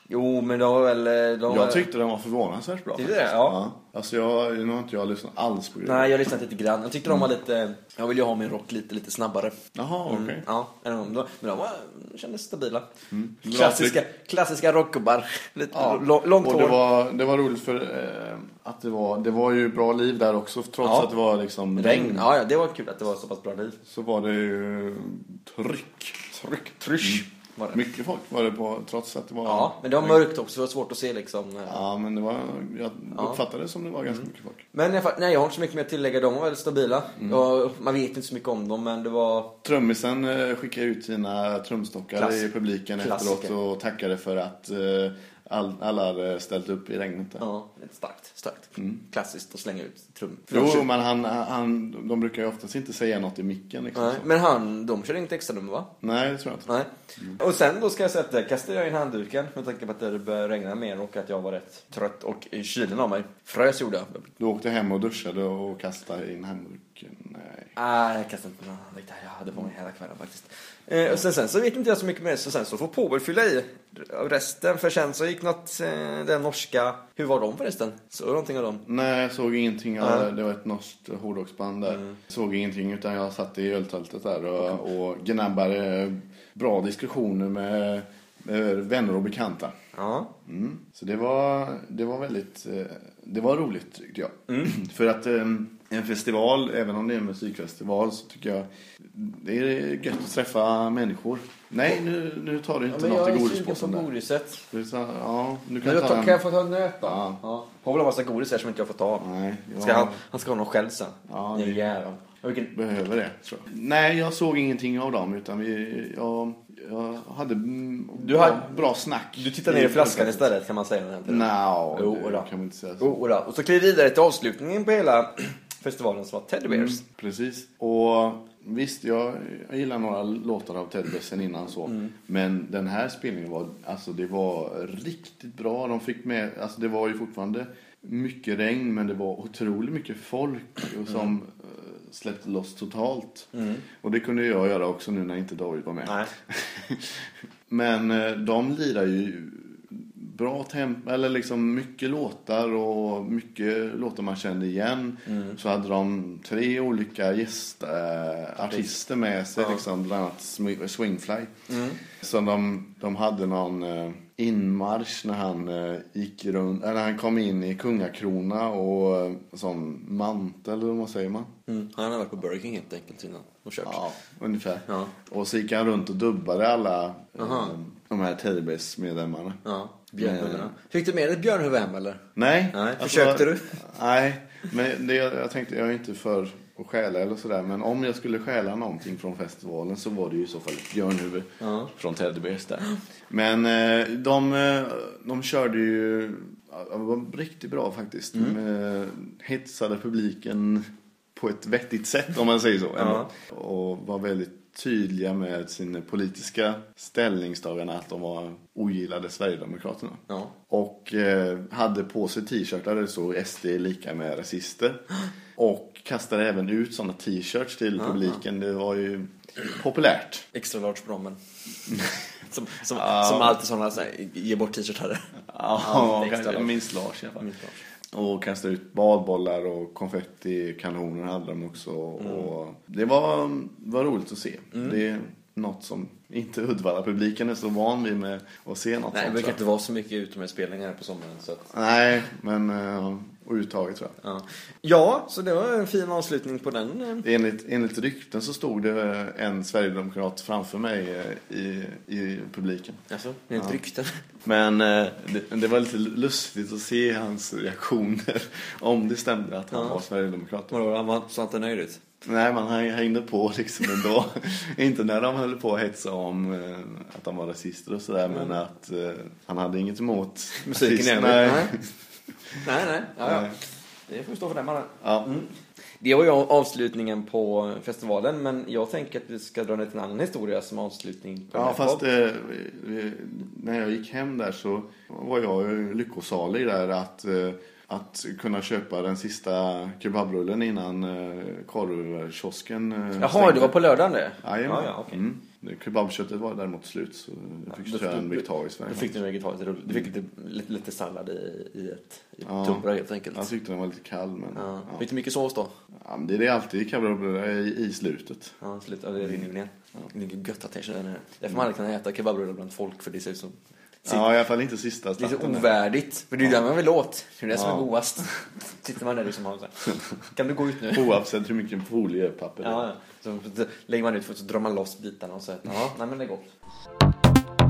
jo, men de var väl... eh, De, Jag tyckte den var förvånansvärt bra. Tyckte du det? faktiskt. Ja. Alltså jag, nu har inte jag lyssnat alls på Graveyard. Nej, jag lyssnade lite grann. Jag tyckte de var lite... Jag ville ju ha min rock lite, lite snabbare. Jaha, Mm. okej. Mm, ja, men de, men de var, kändes stabila. Mm. Bra Klassiska, klassiska rockgubbar. Lite Ja. lo- långt och hår. det var, det var roligt för eh, att det var, det var ju bra liv där också trots Ja. att det var liksom Regn. Ja, ja, det var kul att det var så pass bra liv. Så var det ju tryck. Tryck, trysch. Var det. Mycket folk var det på trots att det var... Ja, Mm. men det var mörkt också, så det var svårt att se liksom. Ja, men det var, jag Ja. Mm. uppfattade det som det var ganska mycket folk. Men jag, fa- nej, jag har inte så mycket mer att tillägga. De var väldigt stabila. Mm. Och man vet inte så mycket om dem, men det var... Trummisen eh, skickade ut sina trumstockar Klass- i publiken klassiker. efteråt och tackade för att eh, all, alla hade ställt upp i regnet. Där. Ja, starkt. Starkt. Klassiskt att slänga ut trum. Mm. Jo, men han, han, de brukar ju oftast inte säga något i micken. Liksom, Nej, så. men han, de körde inget extra nummer va? Nej, det tror jag inte. Nej. Mm. Och sen då ska jag säga att där kastade jag in handduken med tanke på att det började regna mer och att jag var rätt trött och kylen av mig. Frös gjorde jag. Du åkte hem och duschade och kastade in handduken. Nej. Nej, Ah, jag kastade inte någon handduk där. Jag hade på mig hela kvällen faktiskt. Eh, och sen, sen så vet inte jag så mycket mer, så sen så får Povel fylla i av resten. För sen så gick något, eh, den norska, hur var de förresten? Så någonting av dem? Nej, jag såg ingenting. av Nej. Mm. det. Det var ett norskt hårdrocksband där. Såg ingenting utan jag satt i öltältet där och, och gnabbade bra diskussioner med, med vänner och bekanta. Ja. Mm. Så det var, det var väldigt eh, det var roligt tyckte jag. Mm. För att eh, en festival, även om det är en musikfestival, så tycker jag det är gött att träffa människor. Nej, nu, nu tar du inte något i godispåsen där. godiset. Du sa- Ja, du Kan kan jag, ta ta, kan jag en. få ta en nöt då? Ja. Har väl en massa godis här som inte jag får ta av. Nej, jag Ska han, han ska ha någon själv sen. Ja, det det- är jävlar. Och vilken- behöver det. Tror jag. Nej, jag såg ingenting av dem utan vi, jag, jag hade mm, Du bra, hade- bra snack. Du tittar ner i flaskan istället kan man säga. Oh, egentligen. Nja, Jo, det då. kan man inte säga. så. Jo, då. Och så kliver vi vidare till avslutningen på hela festivalen som var Teddy Bears. Mm, Precis. Och visst, jag, jag gillar några låtar av Ted Bessen innan så. Men den här spelningen var, alltså det var riktigt bra. De fick med, alltså det var ju fortfarande mycket regn men det var otroligt mycket folk och som eh, släppte loss totalt. Och det kunde jag göra också nu när inte David var med. Mm. Nej. Men eh, de lirar ju bra tempo, eller liksom mycket låtar och mycket låtar man kände igen. Så hade de tre olika gästartister med sig, liksom, bland annat Smi- Swingfly. Så de, de hade någon eh, inmarsch när han, eh, gick runt, eller han kom in i kungakrona och eh, sån mantel, eller vad säger man? Mm. Han har varit på Burger King helt enkelt innan och kört. Ja, ungefär. Ja. Och så gick han runt och dubbade alla eh, de här Teddybears-medlemmarna. Ja, björnhuvudena. Fick du med dig ett björnhuvud hem eller? Nej. Alltså, Nej, försökte du? Nej, men det, jag tänkte, jag är inte för att stjäla eller sådär. Men om jag skulle stjäla någonting från festivalen så var det ju i så fall ett björnhuvud från Teddy Bears där. Men eh, de, eh, de körde ju, ja, de var riktigt bra faktiskt. Mm. De eh, hetsade publiken på ett vettigt sätt om man säger så. Ja. Och var väldigt tydliga med sina politiska ställningstaganden att de var ogillade Sverigedemokraterna. Ja. Och eh, hade på sig t-shirtar där det stod SD är lika med rasister. Och kastade även ut sådana t-shirts till publiken. Det var ju populärt. Extra large brommen. som, som, Ja. som alltid sådana så här, ge bort t-shirtar. Ja, extra Mm. jag large. minns Lars i alla fall. Minns Lars. Och kastade ut badbollar och konfettikanoner hade de också. Mm. Och det var, var roligt att se. Det är något som inte Uddevalla-publiken är så van vid med att se något Nej, det sånt. brukar tror inte vara så mycket utomhusspelningar här på sommaren. Så att, jag. Nej, men... eh, Och uttaget tror jag. ja. ja, så det var en fin avslutning på den. eh, Enligt, enligt rykten så stod det en sverigedemokrat framför mig eh, i, i publiken. Alltså, det är ett rykte. Men eh, det, det var lite lustigt att se hans reaktioner. Om det stämde att han Ja. var sverigedemokrat. Vadå, han var- såg inte nöjd ut? Nej, men han hängde på liksom ändå. Inte när de höll på att hetsa om eh, att de var rasister och sådär. Men att eh, han hade inget emot Mm. Musiken rasister. är Nej. Nej, nej. nej. Ja, ja. Nej. Det får stå för den mannen. Ja. Det var ju avslutningen på festivalen, men jag tänker att vi ska dra ner till en annan historia som avslutning på den Ja, här fast podden. eh, eh, när jag gick hem där så var jag ju lyckosalig där att, eh, att kunna köpa den sista kebabrullen innan eh, korvkiosken eh, Jaha, det var på lördagen det? Jajamän. Ja, ja, okej. Mm. Det- Kebabköttet var däremot slut så jag fick Ja, köra en du- vegetarisk Då variant. fick du en vegetarisk rulle. Du fick lite, lite, lite sallad i, i ett i Ja. ett tunnbröd helt enkelt. Jag tyckte den var lite kall men, ja. ja. Fick du mycket sås då? Ja, men det är det alltid i kebabrullar i, i slutet. Ja, slut. Ja, det rinner Mm. ju ner. Det är gött att jag känner det. Därför man aldrig kan äta kebabrullar bland folk för det ser ut som... Sitt- Ja, i alla fall inte sista Det är så starten där. ovärdigt. För det är ju det man vill åt. Det är det som är Ja. godast. Sitter man där liksom och har så här, Kan du gå ut nu? Oavsett hur mycket foliepapper det är. Ja, ja. så så lägger man ut och så drar man loss bitarna och så äter man. Ja, nej men det är gott.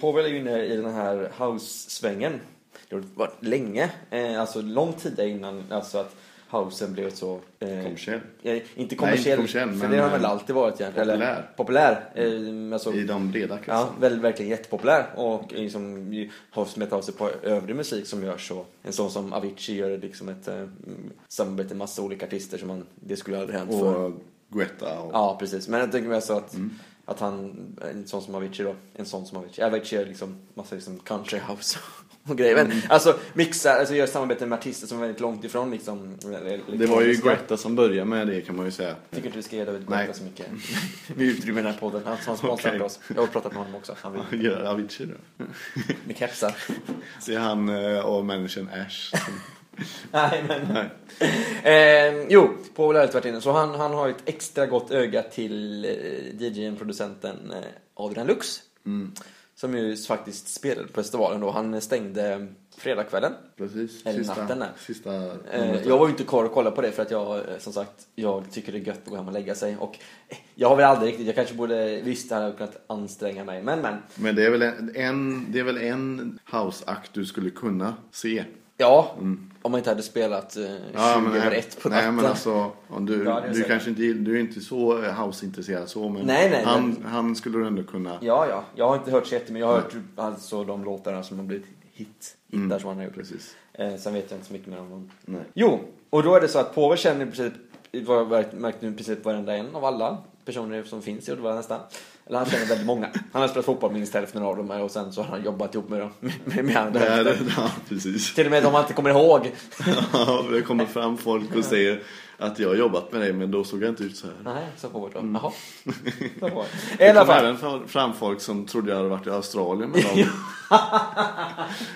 Povel är ju inne i den här house-svängen. Det har varit länge, eh, alltså lång tid innan alltså att housen blev så... Eh, Kommersiell. eh, inte kommersiell, kommersiell, för men, det har väl eh, alltid varit egentligen. Eller, populär. populär. Eh, alltså, I de breda Ja, kretsarna. väl, verkligen jättepopulär och liksom ju- har smätt av sig på övrig musik som görs. Och en sån som Avicii gör liksom ett eh, mm, samarbete med massa olika artister som man, det skulle aldrig hänt förr. Och Guetta och... Mm. Ja, precis. Men jag tänker mig alltså att Att han, en sån som Avicii då, en sån som Avicii. Avicii är liksom massa liksom country house och grejer. Men Mm. alltså mixar, alltså gör samarbeten med artister som är väldigt långt ifrån liksom. Det var ju Greta som började med det kan man ju säga. Tycker inte vi ska ge David Nej. Guetta så mycket utrymme i den här podden. Han, han sponsrar Okej. inte oss. Jag har pratat med honom också. Han vill Gör Avicii då. med kepsar. Så är han eh, och människan Ash. Nej, men. Nej. Eh, jo, på lärarutvärderingen. Så han, han har ett extra gott öga till eh, DJn, producenten eh, Adrian Lux. Mm. Som ju faktiskt spelade på festivalen då. Han stängde fredagskvällen. Mm, Precis. Eller Sista, natten där. sista Eh, numret. jag var ju inte kvar och kollade på det för att jag, eh, som sagt, jag tycker det är gött att gå hem och lägga sig. Och eh, jag har väl aldrig riktigt, jag kanske borde, visst hade jag kunnat anstränga mig, men men. Men det är väl en, en, det är väl en houseakt du skulle kunna se. Ja, Mm. om man inte hade spelat eh, 20 över nej, 1 på nej, natten. men alltså, om du, Ja, det är du säkert. kanske inte, du är inte så eh, houseintresserad så, men Nej, nej, han, men- han skulle du ändå kunna. Ja, ja. Jag har inte hört så jättemycket. Jag har hört alltså de låtarna som har blivit hit, hittar som han har gjort. Precis. Eh, sen vet jag inte så mycket mer om dem. Mm. Nej. Jo, och då är det så att Påve känner i princip, vad jag märkt- märkte nu i princip varenda en av alla personer som finns i Uddevalla nästan. Eller han känner väldigt många. Han har spelat fotboll minst hälften av dem här och sen så har han jobbat ihop med dem. Med, med, med andra. Det är, det- ja, precis. Till och med de han inte kommer ihåg. Ja, det kommer fram folk och säger att jag har jobbat med dig, men då såg jag inte ut så här. Nej, sa Påve då. Jaha. Sa Påve. I Mm. Det alla kom fall. även fram- fram folk som trodde jag hade varit i Australien med dem.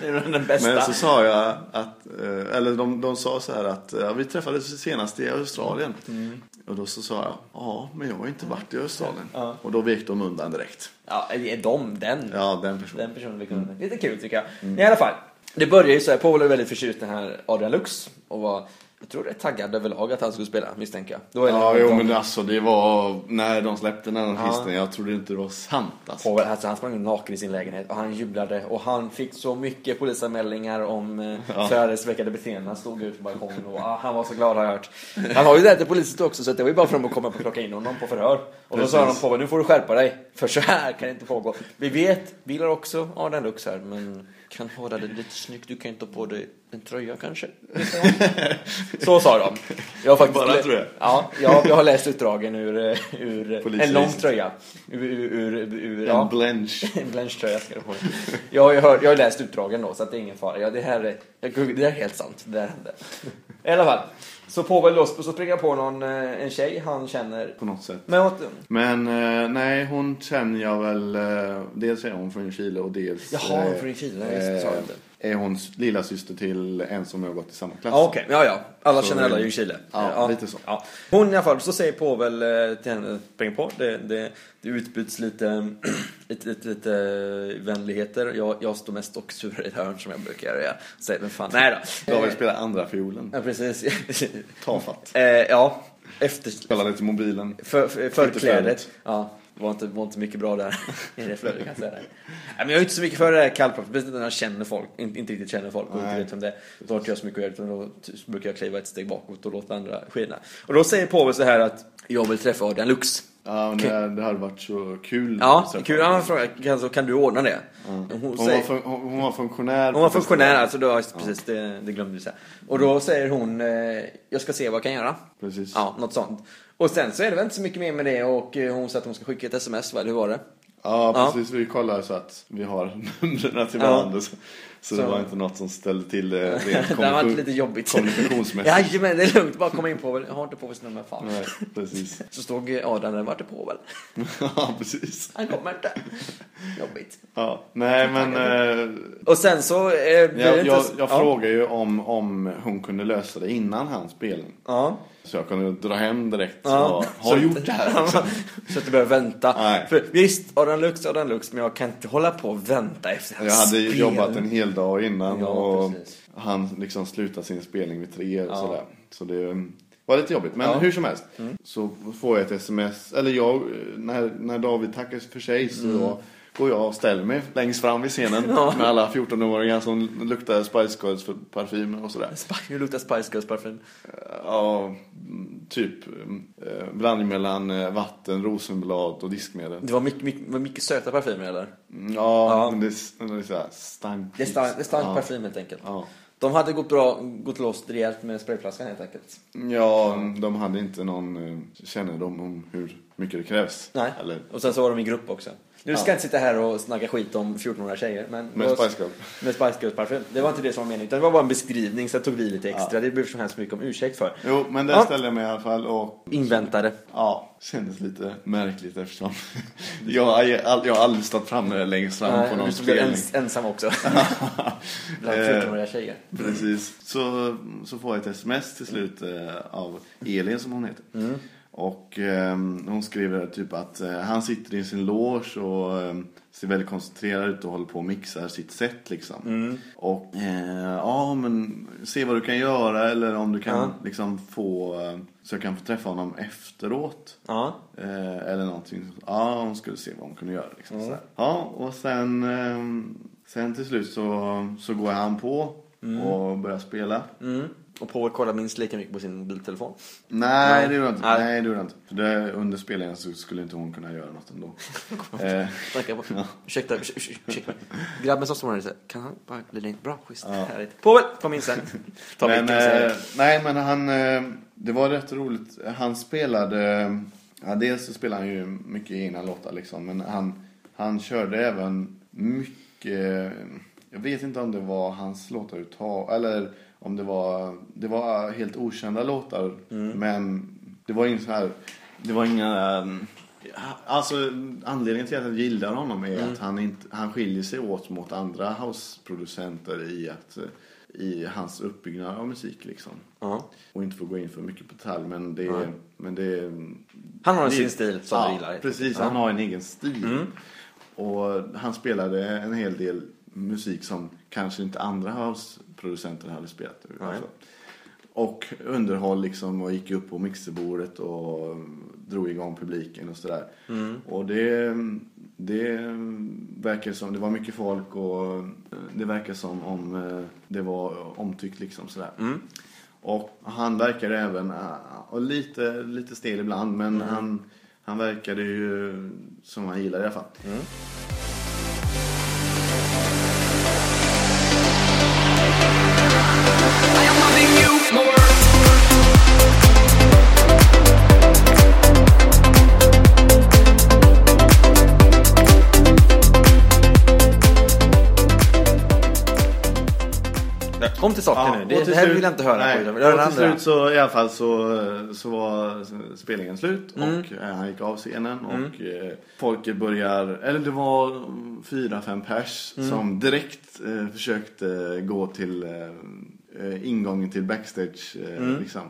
Det är den bästa. Men så sa jag att, eh, eller de, de sa så här att ja, vi träffades senast i Australien. Mm. Och då så sa jag, ja men jag har inte varit i Australien. Ja. Och då vek de undan direkt. Ja, är de, den. Ja, den personen. Den personen vi kunde. Lite kul tycker jag. Men I alla fall. Mm. Det börjar ju så här. Paul är väldigt förtjust i den här Adrian Lux. Och var, jag tror det är taggad överlag att han skulle spela, misstänker jag. Då är det Ja, någon- jo men alltså det var när de släppte den här Ja. artisten. Jag trodde inte det var sant alltså. Paul, alltså, han sprang naken i sin lägenhet och han jublade och han fick så mycket polisanmälningar om eh, Ja. förargelseväckande beteenden. Han stod ute på balkongen och ah, han var så glad har jag hört. Han var ju där till polisen också så att det var ju bara för dem att komma och plocka in honom på förhör. Och då sa de Precis. på nu får du skärpa dig för så här kan det inte pågå. Vi vet, vi gillar också Adrian Lux här men kan hålla det lite snyggt, du kan inte ta på dig en tröja kanske? Så sa de. Jag har faktiskt Bara tröja. Ja, jag, jag har läst utdragen ur, eh, ur en lång Polisregistret. tröja. Ur, ur, ur, ur, En ja. blench. En blanchtröja ska du få. Jag har ju hört, jag har läst utdragen då, så att det är ingen fara. Ja, det, här är, jag, googl- det här är helt sant. Det där hände. I alla fall. Så Povel loss, så springer han på någon, eh, en tjej han känner. På något sätt. Men åt, Men eh, nej, hon känner jag väl. Eh, dels är hon från Chile och dels Jaha, eh, från Chile, just det, sa jag inte. är hon s- lilla syster till en som jag har gått i samma klass. ja, Ah, okej. Ja, ja. Alla Så- känner alla i Chile. Ja, Eh, lite så. Ja. Hon i alla fall, så säger Povel eh, till henne, spring på. Det, det, det utbyts lite, lite, lite, lite vänligheter. Jag, jag står mest och surar i ett hörn som jag brukar göra. Säger, men fan, nej då. David spelar andra fiolen. Ja, precis. Tafatt. Eh, ja, efter... Spelar lite mobilen. För, för, förklädet. flödet. Ja, det var inte, var inte mycket bra där. I det flödet kan jag säga. Nej, men jag är inte så mycket för det här kallpratet. Speciellt när jag känner folk, inte, inte riktigt känner folk och inte Nej. vet om det är. Då har inte jag så mycket att göra utan då t- brukar jag kliva ett steg bakåt och låta andra skina. Och då säger Povel så här att jag vill träffa Adrian Lux. Ja, men det, det hade varit så kul. Mm. att Ja, träffa kul. henne. Han frågar, kan, så kan du ordna det? Mm. Hon, Hon, var säger, fun- hon, hon var funktionär. hon var på funktionär, festivalen. alltså då, precis, det, det glömde vi säga. Och då säger hon, eh, jag ska se vad jag kan göra. Precis. Ja, något sånt. Och sen så är det väl inte så mycket mer med det och eh, hon sa att hon ska skicka ett sms, va? eller hur var det? Ja, Ja. precis. Vi kollar så att vi har numren till Ja. varandra. Så, så, Så- det var inte något som ställde till det rent Det här var kommunikation- lite jobbigt. kommunikationsmässigt. Jajamän, det är lugnt. Bara komma in på väl. Jag har inte på nummer, fan. Nej, precis. Så stod eh, Adrian där, vart är på väl? ja, precis. Han kommer inte. Jobbigt. Ja, nej men eh, Och sen så... Eh, blir det jag, inte jag, så- jag ja. frågade ju om, om hon kunde lösa det innan hans spelning. Ja. Så jag kunde dra hem direkt och Ja. har gjort det här. liksom. Så att du behöver vänta. Nej. För visst, Adrian Lux, Adrian Lux, men jag kan inte hålla på och vänta efter Jag hade ju spel. jobbat en hel dag innan Ja, och precis. han liksom slutade sin spelning vid tre och Ja. sådär. Så det um, var lite jobbigt. Men Ja. Mm. hur som helst så får jag ett sms, eller jag, eh, när, när David tackar för sig så går jag och ställer mig längst fram vid scenen Mm. Ja. med alla 14-åringar som luktar Spice Girls för parfym och sådär. Sp- Nu luktar Spice Girls parfym. Ja, mm, typ mm, eh, blandning mellan eh, vatten, rosenblad och diskmedel. Det var mycket, mycket, var mycket söta parfymer eller? Mm, Ja, Ja. men det, s- men det är så här stank. Det stank, det stank ja. parfym helt enkelt. Ja. De hade gått bra, gått loss rejält med sprayflaskan helt enkelt. ja, de hade inte någon eh, kännedom om hur mycket det krävs. Nej. Eller, Och sen så var de i grupp också. Nu ska Ja. jag inte sitta här och snacka skit om 14-åriga tjejer. Men med det var- Spice Girl. Med Spice Girls parfym. Det var inte det som var meningen. Utan det var bara en beskrivning. Sen tog vi lite extra. Ja. Det behöver så hemskt mycket om ursäkt för. Jo, men den Ja. ställde jag mig i alla fall och Inväntade. ja, kändes lite märkligt eftersom jag, har all- jag har aldrig stått framme längst fram Nej, på och någon du blev spelning. ens, ensam också. Bland Eh. 14-åriga tjejer. Precis. Så, så får jag ett sms till slut eh, av Elin som hon heter. Och eh, hon skriver typ att eh, han sitter i sin loge och eh, ser väldigt koncentrerad ut och håller på och mixar sitt set liksom. Och eh, ja men se vad du kan göra eller om du kan Ja. liksom få eh, så jag kan få träffa honom efteråt. Ja. Eh, eller någonting. Ja, hon skulle se vad hon kunde göra. Liksom, sådär. Ja, och sen, eh, sen till slut så, så går han på och börjar spela. Mm. Och Paul kollar minst lika mycket på sin mobiltelefon. Nej, Nej. det gjorde jag inte. Nej. Nej. det gjorde jag inte. För det, under spelningen så skulle inte hon kunna göra något ändå. eh, Snackar på. Ja. Ursäkta, ursä- ursä- ursäkta mig. Grabben som står där säger, kan han bara glida in? Bra, schysst. Ja. Härligt. Paul, kom in sen. Ta men, micken och säg. eh, nej, men han... Eh, det var rätt roligt. Han spelade... Ja, dels så spelade han ju mycket egna låtar liksom. Men han, han körde även mycket... Jag vet inte om det var hans låtar uttag eller om det var... Det var helt okända låtar. Mm. Men det var inget så här... Det var inga... ehm, Alltså anledningen till att jag gillar honom Mm. är att han, inte, han skiljer sig åt mot andra houseproducenter i, att, eh, i hans uppbyggnad av musik liksom. Ja. Och inte får gå in för mycket på detalj men det, Nej. men det Han har det- sin stil som ja, du gillar. Precis, Ja. Mm. han har en egen stil. Och han spelade en hel del musik som kanske inte andra houseproducenter hade spelat. Nej. Och underhåll liksom och gick upp på mixerbordet och drog igång publiken och sådär. Och det, det verkar som, det var mycket folk och det verkar som om eh, det var omtyckt liksom sådär. Och han verkade även, eh, och lite, lite stel ibland, men han, han verkade ju som han gillade i alla fall. Kom till saken nu. Det, det här vill jag inte höra på. Jag vill höra och det till slut andra. så i alla fall så, så var spelningen slut Mm. och eh, han gick av scenen och eh, folket börjar, eller det var mm, fyra, fem pers Mm. som direkt eh, försökte gå till eh, eh, ingången till backstage eh, Mm. liksom.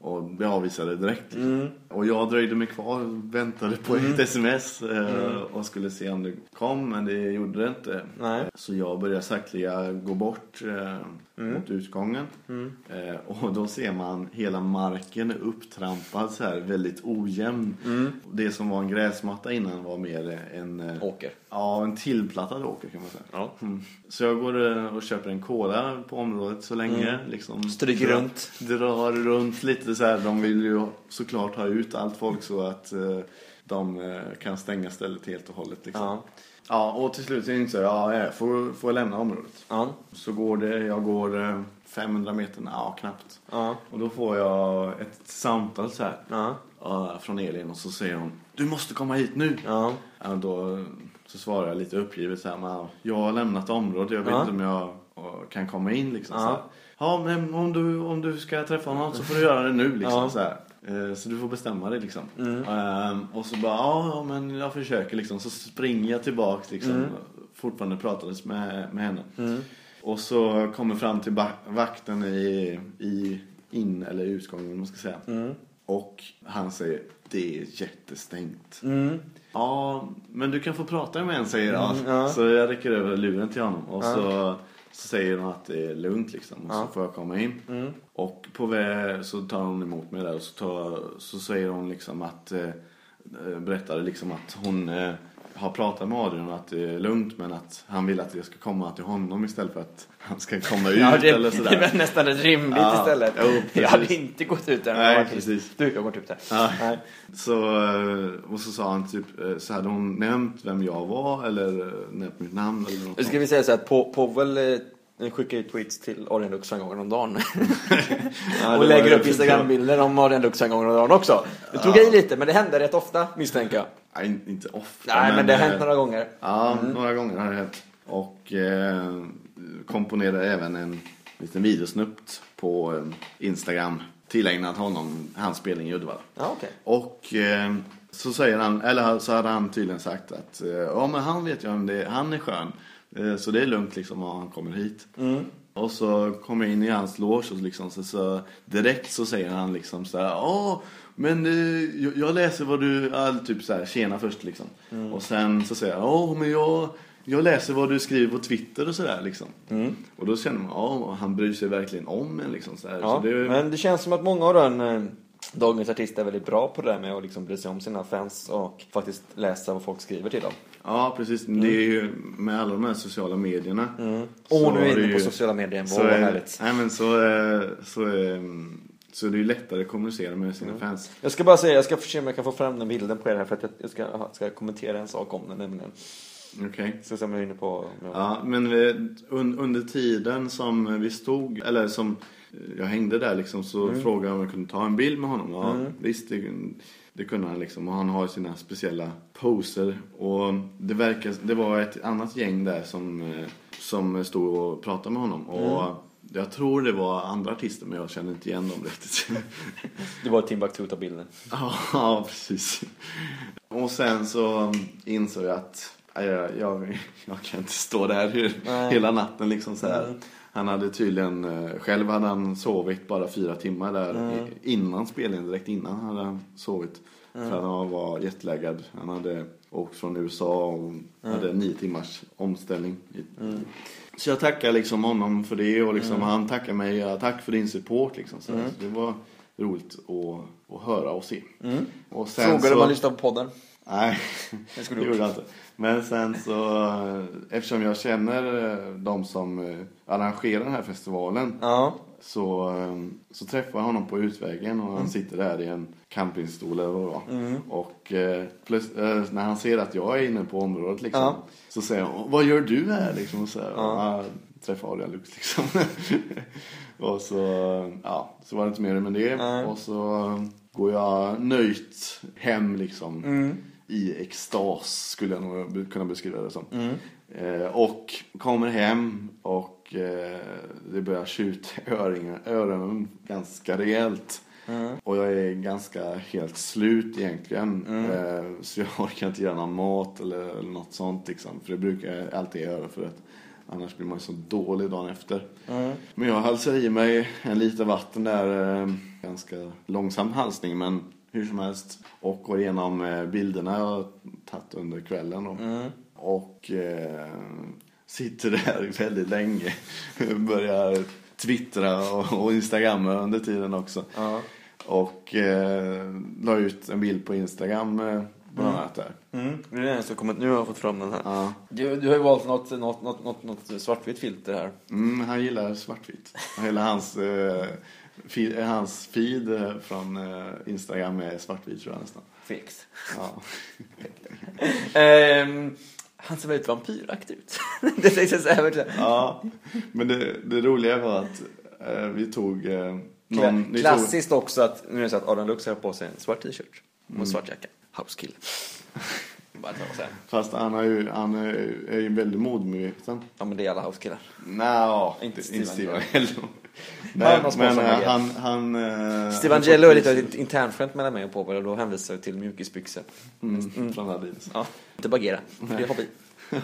Och bli avvisade direkt. Liksom. Och jag dröjde mig kvar, väntade på Mm. ett sms eh, och skulle se om det kom men det gjorde det inte. Nej. Så jag börjar sakta gå bort eh, Mm. mot utgången. Eh, och då ser man hela marken upptrampad så här väldigt ojämn. Mm. Det som var en gräsmatta innan var mer en, eh, Åker. ja, en tillplattad åker kan man säga. Ja. Mm. Så jag går eh, och köper en cola på området så länge. Liksom, Mm. Stryker drar, runt. Drar runt lite så här. De vill ju såklart ha ut allt folk så att eh, de eh, kan stänga stället helt och hållet. Liksom. Ja. Ja, och till slut inser jag att jag får, får jag lämna området. Ja. Så går det, jag går eh, 500 meter, ja knappt. Ja. Och då får jag ett samtal så här Ja. ja, från Elin och så säger hon Du måste komma hit nu! Ja. Ja, då så svarar jag lite uppgivet så här, men jag har lämnat området, jag vet Ja. inte om jag eh, kan komma in liksom. Ja. Så här. Ja, men om du, om du ska träffa honom så får du göra det nu liksom. Ja. Mm. Så, här. Eh, så du får bestämma dig liksom. Ehm, och så bara, ja ja, men jag försöker liksom. Så springer jag tillbaks liksom. Mm. Fortfarande pratades med, med henne. Och så kommer fram till ba- vakten i, i in eller utgången, man ska säga. Mm. Och han säger, det är jättestängt. Mm. Ja, men du kan få prata med en säger han. ja. Så jag räcker över luren till honom och så, så säger hon att det är lugnt liksom och Ja. Mm. så får jag komma in. Och på väg så tar hon emot mig där och så, tar, så säger hon liksom att eh, eh, berättade liksom att hon eh, har pratat med Adrian och att det är lugnt men att han vill att jag ska komma till honom istället för att han ska komma ut Ja, typ- det, eller sådär. det var nästan ett rimligt Ja, istället. jo, precis. jag hade inte gått ut där. om jag Nej, var artist. precis. Du, jag har gått typ ut där. Ja. Nej. Så, eh, och så sa han typ, eh, så hade hon nämnt vem jag var eller eh, nämnt mitt namn eller något Nu ska vi säga så här att Po- Powell eh, eh, skickar ju tweets till Orienlux en gång om dagen. Ja, det var typ och lägger upp riktigt kul. Instagram-bilder om Orienlux en gång om dagen också. Det tog i lite, men det hände rätt ofta misstänker jag. Nej, in- inte ofta. Nej, men det har eh, hänt några Mm. gånger. Ja, några gånger har det hänt. Och eh, komponerade även en liten videosnutt på eh, Instagram tillägnad honom hans spelning i Uddevalla. Ja, okej. Och eh, så säger han, eller så hade han tydligen sagt att eh, ja men han vet ju om det, han är skön. Eh, så det är lugnt liksom om han kommer hit. Mm. Och så kommer jag in i hans loge och liksom, så, så direkt så säger han liksom så här, ja men eh, jag, jag läser vad du, ja, typ så här, tjena först liksom. Mm. Och sen så säger han, ja men jag jag läser vad du skriver på Twitter och sådär liksom. Mm. Och då känner man, ja han bryr sig verkligen om en liksom. Så här. Ja, så det, Men det känns som att många av den, eh, dagens artister är väldigt bra på det där med att liksom bry sig om sina fans och faktiskt läsa vad folk skriver till dem. Ja, precis. Det är ju med alla de här sociala medierna. Åh, så nu är jag det inne på ju- sociala medier. Wow, Så, vad eh, härligt. Nej, men så, eh, så, eh, så det är ju lättare att kommunicera med sina fans. Jag ska bara säga, jag ska se om jag kan få fram den bilden på er här för att jag- jag ska, aha, ska kommentera en sak om den nämligen. Okej. Så som jag är inne på. om jag- Ja, men eh, un, under tiden som vi stod, eller som jag hängde där liksom, så frågade jag om jag kunde ta en bild med honom. Ja, visst, det, det kunde han liksom. Och han har sina speciella poser. Och det, verkar, det var ett annat gäng där som, eh, som stod och pratade med honom. Och jag tror det var andra artister, men jag kände inte igen dem riktigt. Det var Timbuktu utav bilden. Ja, precis. Och sen så insåg jag att nej, jag, jag, jag kan inte stå där hur, Nej. hela natten liksom så här. Han hade tydligen, eh, själv hade han sovit bara fyra timmar där i- innan spelningen, direkt innan hade han sovit. För att han var jetlaggad. Han hade åkt från USA och hade nio timmars omställning. i- Så jag tackar liksom honom för det och liksom han tackar mig, ja, tack för din support liksom. Så det var roligt att, att höra och se. Och sen Frågade så... om han lyssnade på podden. Nej, Det det skulle du gjorde jag inte. Men sen så, eh, eftersom jag känner eh, de som eh, arrangerar den här festivalen Ja. så, eh, så träffar jag honom på utvägen och han sitter där i en campingstol eller vad det Mm. var. Och eh, plöts- eh, när han ser att jag är inne på området liksom, Ja. så säger han Vad gör du här? Liksom, och så här, ja. Träffar Adrian Lux liksom. och så, ja, så var det inte mer med det. Och så går jag nöjt hem liksom. Mm. I extas skulle jag nog be- kunna beskriva det som. Mm. Eh, och kommer hem och eh, det börjar tjuta i öringar- öronen ganska rejält. Mm. Och jag är ganska helt slut egentligen. Eh, så jag orkar inte göra någon mat eller, eller något sånt liksom. För det brukar jag alltid göra för att annars blir man ju så dålig dagen efter. Men jag halsar i mig en liter vatten där. Eh, ganska långsam halsning men hur som helst. Och går igenom eh, bilderna jag har tagit under kvällen. Mm. Och, och eh, sitter där väldigt länge. Börjar twittra och, och instagramma under tiden också. Ja. Och eh, la ut en bild på Instagram eh, bland annat där. Mm. Det är den som kommit. Nu har jag fått fram den här. Ja. Du, du har ju valt något, något, något, något, något svartvitt filter här. Mm, han gillar svartvitt. Och Hela hans, eh, feed, eh, hans feed eh, från eh, Instagram är svartvit tror jag nästan. Fix. Ja. Ehm, han ser väldigt vampyraktig ut. det sägs så här. vet du. ja. Men det, det roliga var att eh, vi tog eh, någon... Kla- vi Klassiskt också att, nu är det så att Adam Lux har på sig en svart t-shirt och en svart jacka. Mm. Housekille. Bara ta och säga. Tog, fast han, har ju, han är, ju- är ju väldigt modmedveten. Ja men det är alla housekillar. Nja, Inte inte Steve Steve Angelo. Angelo. Han Nej, har sponsrat men eh, med han... han eh, Steve han Angelo är fått- lite av ett internskämt mellan mig och Povel och då hänvisar jag till mjukisbyxor. Mm, Från Adidas. Ja, inte bagera. För det är hobby.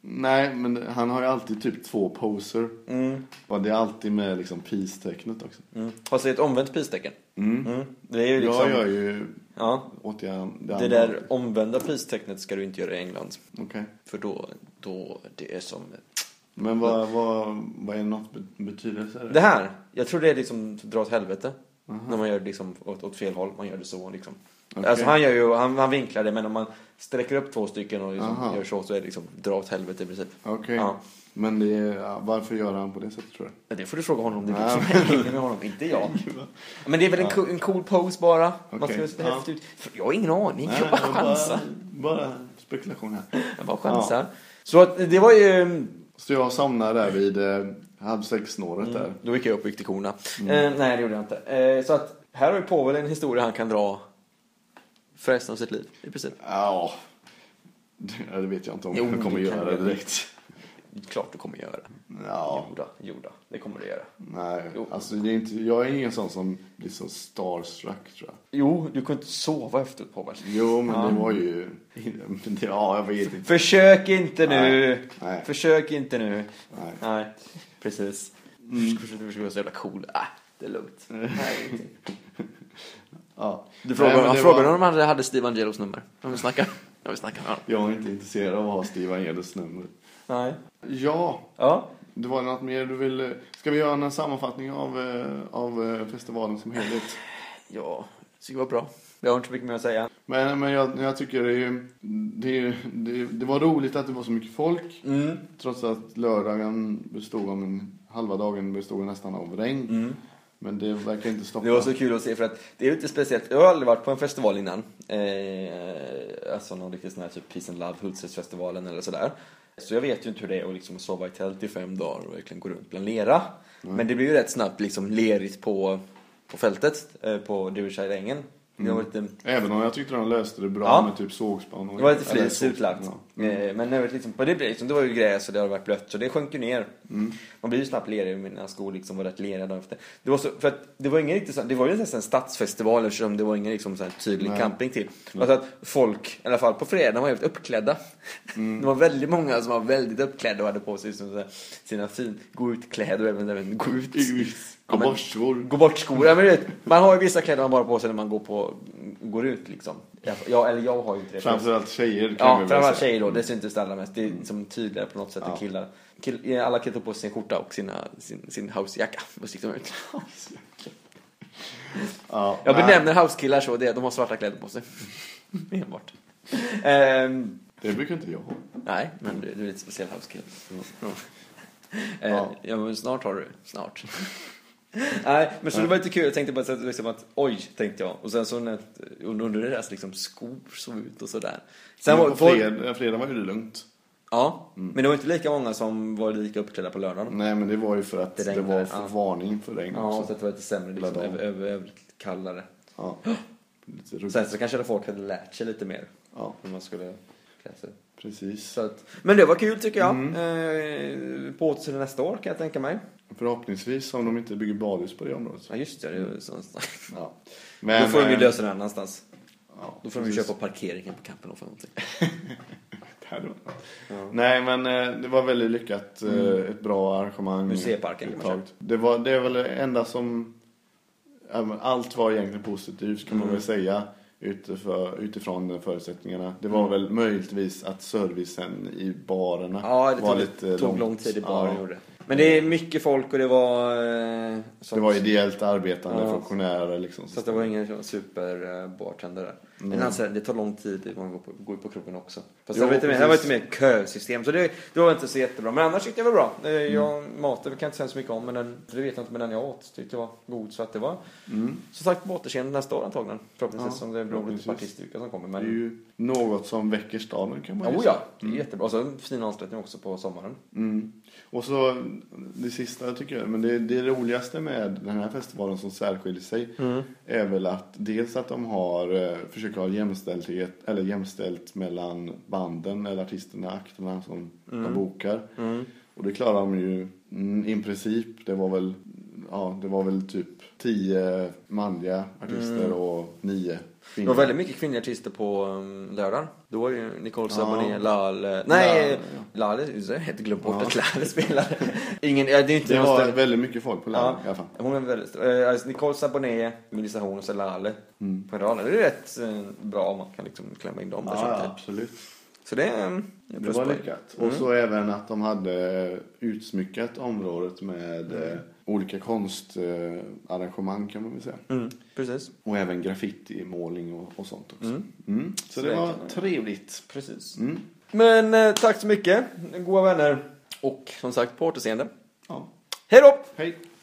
Nej, men han har ju alltid typ två poser. Och det är alltid med liksom peace-tecknet också. Mm. Har sig ett omvänt pristecken. Mm. Det är ju liksom... Jag gör ju... Ja, Åt jag det, det andra. där omvända pristecknet ska du inte göra i England. Okej. För då, då, det är som Men vad, vad, vad är något be- betydelse? Det här, jag tror det är liksom dra åt helvete. När man gör det liksom åt, åt fel håll, man gör det så liksom. Mhm. Okej. Alltså han gör ju, han, han vinklar det men om man sträcker upp två stycken och liksom Aha. gör så så är det liksom dra åt helvete i princip. Okej. Ja. Men det är, ja, varför gör han på det sättet tror du? Men Det får du fråga honom om det är Ja. du som hänger med honom, inte jag. Men det är väl en, co- en cool pose bara. Man ska Okej. väl se Ja. häftigt ut. För Jag har ingen aning, jag bara jag chansar. bara, bara spekulation här. Jag bara chansar. Så att, det var ju Så jag somnade där vid eh, halv sex-snåret där. eh, Då gick jag upp och gick till korna. Mm. Eh, nej, det gjorde jag inte. Eh, så att här har ju Povel en historia han kan dra för resten av sitt liv, i princip. Ja, det det vet jag inte om Jo, jag kommer det kan göra det du. direkt. Klart du kommer göra. Ja, Joda, joda, det kommer du göra. nej. Jo. Alltså, det är inte, jag är ingen sån som blir så starstruck tror jag. Jo, du kunde inte sova efteråt Povel. Jo, men det var ju... Ja, jag vet inte. Försök inte nu! Nej, nej. Försök inte nu. Nej. Mm. precis. Du skulle vara så jävla cool. Äh, det är lugnt. Nej, ingenting. Ja. du frågar, Nej, men han det frågar var- om han hade Steve Angelos nummer. Om vi snackar. Om vi snackar. Ja. Jag är inte intresserad av att ha Steve Angeles nummer. Nej. Ja, Ja. det var något mer du ville... Ska vi göra en sammanfattning av, eh, av eh, festivalen som helhet? Ja, det skulle vara bra. Jag har inte så mycket mer att säga. Men, men jag, jag tycker det, är ju- det, är- det, det var roligt att det var så mycket folk. Mm. Trots att lördagen bestod av en, halva dagen bestod nästan av regn. Men det verkar inte stoppa. Mm. Det var så kul att se för att det är ju inte speciellt. Jag har aldrig varit på en festival innan. Eh, alltså någon riktig sån här typ Peace and Love, Hultsfredsfestivalen eller sådär. Så jag vet ju inte hur det är att liksom sova i tält i fem dagar och verkligen gå runt bland lera. Men det blir ju rätt snabbt liksom lerigt på, på fältet, eh, på Duversheidängen. Det var lite Även om jag tyckte de löste det bra Ja. med typ sågspån. och- det var lite eller flis sågspån, utlagt. ja. Eh, Men övrigt liksom, på det, blev liksom, det var ju gräs och det hade varit blött så det sjönk ju ner. Man blir ju snabbt lerig, mina skor liksom var rätt leriga dagen efter. Det var, så, för att, det var, ingen riktigt, så- det var ju nästan en stadsfestival eftersom det var ingen liksom, så här, tydlig Nej. camping till. Alltså att folk, i alla fall på fredagen, var helt uppklädda. Det var väldigt många som var väldigt uppklädda och hade på sig liksom, så här, sina fin gå ut-kläder och även, även gå ut. Ut. Ja, men- Gåborskor. Gå bort skor. Ja, men du vet, man har ju vissa kläder man bara har på sig när man går, på, går ut liksom. Jag, eller jag har ju inte det. Framförallt tjejer kan vi Ja, väl framförallt säga. tjejer då. Det syns det allra mest. Det är som tydligare på något sätt än Mm. Ja. killar. Kill, alla killar tog på sig sin skjorta och sina, sin, sin housejacka. Och så gick de ut. Ja, Jag nej, benämner housekillar så. Det, är- de har svarta kläder på sig. Enbart. Ehm, Det brukar inte jag ha. nej, men du, du är lite speciell housekille. Eh, Ja. ja, men snart har du. Snart. Nej, men så det var lite kul. Jag tänkte bara så att, liksom att oj, tänkte jag. Och sen så när, under deras liksom, skor såg ut och sådär. Sen Men var, på folk, fredag, fredag var ju det lugnt. Ja, men det var inte lika många som var lika uppklädda på lördagen. Nej, men det var ju för att Det det, regnade, var för ja. varning för regn Ja, så också. att det var lite sämre, liksom, Lördagen. över, över, över, kallare. Ja. Lite ruggigt. Sen så kanske folk hade lärt sig lite mer Ja, hur man skulle klä sig. precis. Så att, men det var kul tycker jag. Eh, på återseende nästa år kan jag tänka mig. Förhoppningsvis om de inte bygger badhus på det området. Ja just det, det är ju sån snack. Ja. Då Men, får de ju eh, lösa det annanstans. ja, Då får de ju precis. köpa parkeringen på campen och för någonting. Det här då. Ja. Nej, men eh, det var väldigt lyckat. eh, Ett bra arrangemang. Museiparken, kan man Uttaget. Det, var, det är väl det enda som... ja, men Allt var egentligen positivt kan man väl säga. Utifrån, utifrån de förutsättningarna. Det var väl möjligtvis att servicen i barerna Ja, det var tog, lite tog långt. lång tid i baren Ja. gjorde det. Men det är mycket folk och det var... Eh, Det var ideellt arbetande Ja. funktionärer liksom. Så att det var ingen superbartender där. Men han säger, det tar lång tid att man går på, går på krogen också. Fast Mm. Jo, det var lite mer, det var lite precis. mer kösystem. Så det, det var inte så jättebra. Men annars tyckte jag var bra. Eh, Mm. Jag, Maten kan jag inte säga så mycket om. Men den, för det vet jag inte. Men den jag åt tyckte jag var god. Så att det var Mm. som sagt på återseende nästa år antagligen. Förhoppningsvis Ja, som det beror lite på förhoppningsvis. artiststyrkan som kommer. Det är Men... ju något som väcker staden kan man ju Jo säga. Oh, ja, det är jättebra. Och så en fin avslutning också på sommaren. Mm. Och så det sista tycker jag, men det, det roligaste med den här festivalen som särskiljer sig Mm. är väl att dels att de har, eh, försöker ha jämställdhet, eller jämställt mellan banden eller artisterna, akterna som Mm. de bokar. Och det klarar de ju mm, i princip. Det var väl, ja, det var väl typ tio manliga artister och nio Mm. Det kvinnliga. var väldigt mycket kvinnliga artister på um, lördagen. Då var ju Nicole Ja. Saboné, Lal... Nej, Lal, Lale, just det, jag hade glömt bort Ja. att Lale spelade. Ingen, ja, det är inte det någon var större- väldigt mycket folk på lägret Ja, i alla fall. hon är väldigt... Eh, alltså Nicole Saboné, Melissa Horn och Selale Mm. på en rad. Det är rätt eh, bra om man kan liksom klämma in dem där samtidigt. absolut. Så det Mm. är eh, en en Ah, Det var pluspoäng. lyckat. Och så även att de hade utsmyckat området med Mm. eh, olika konstarrangemang kan man väl säga. Mm, precis. Och även graffitimålning och, och sånt också. Mm. Så, det, det var kan man- trevligt. precis. Mm. Men eh, tack så mycket, goda vänner. Och som sagt, på återseende. Ja. Hej då! Hej!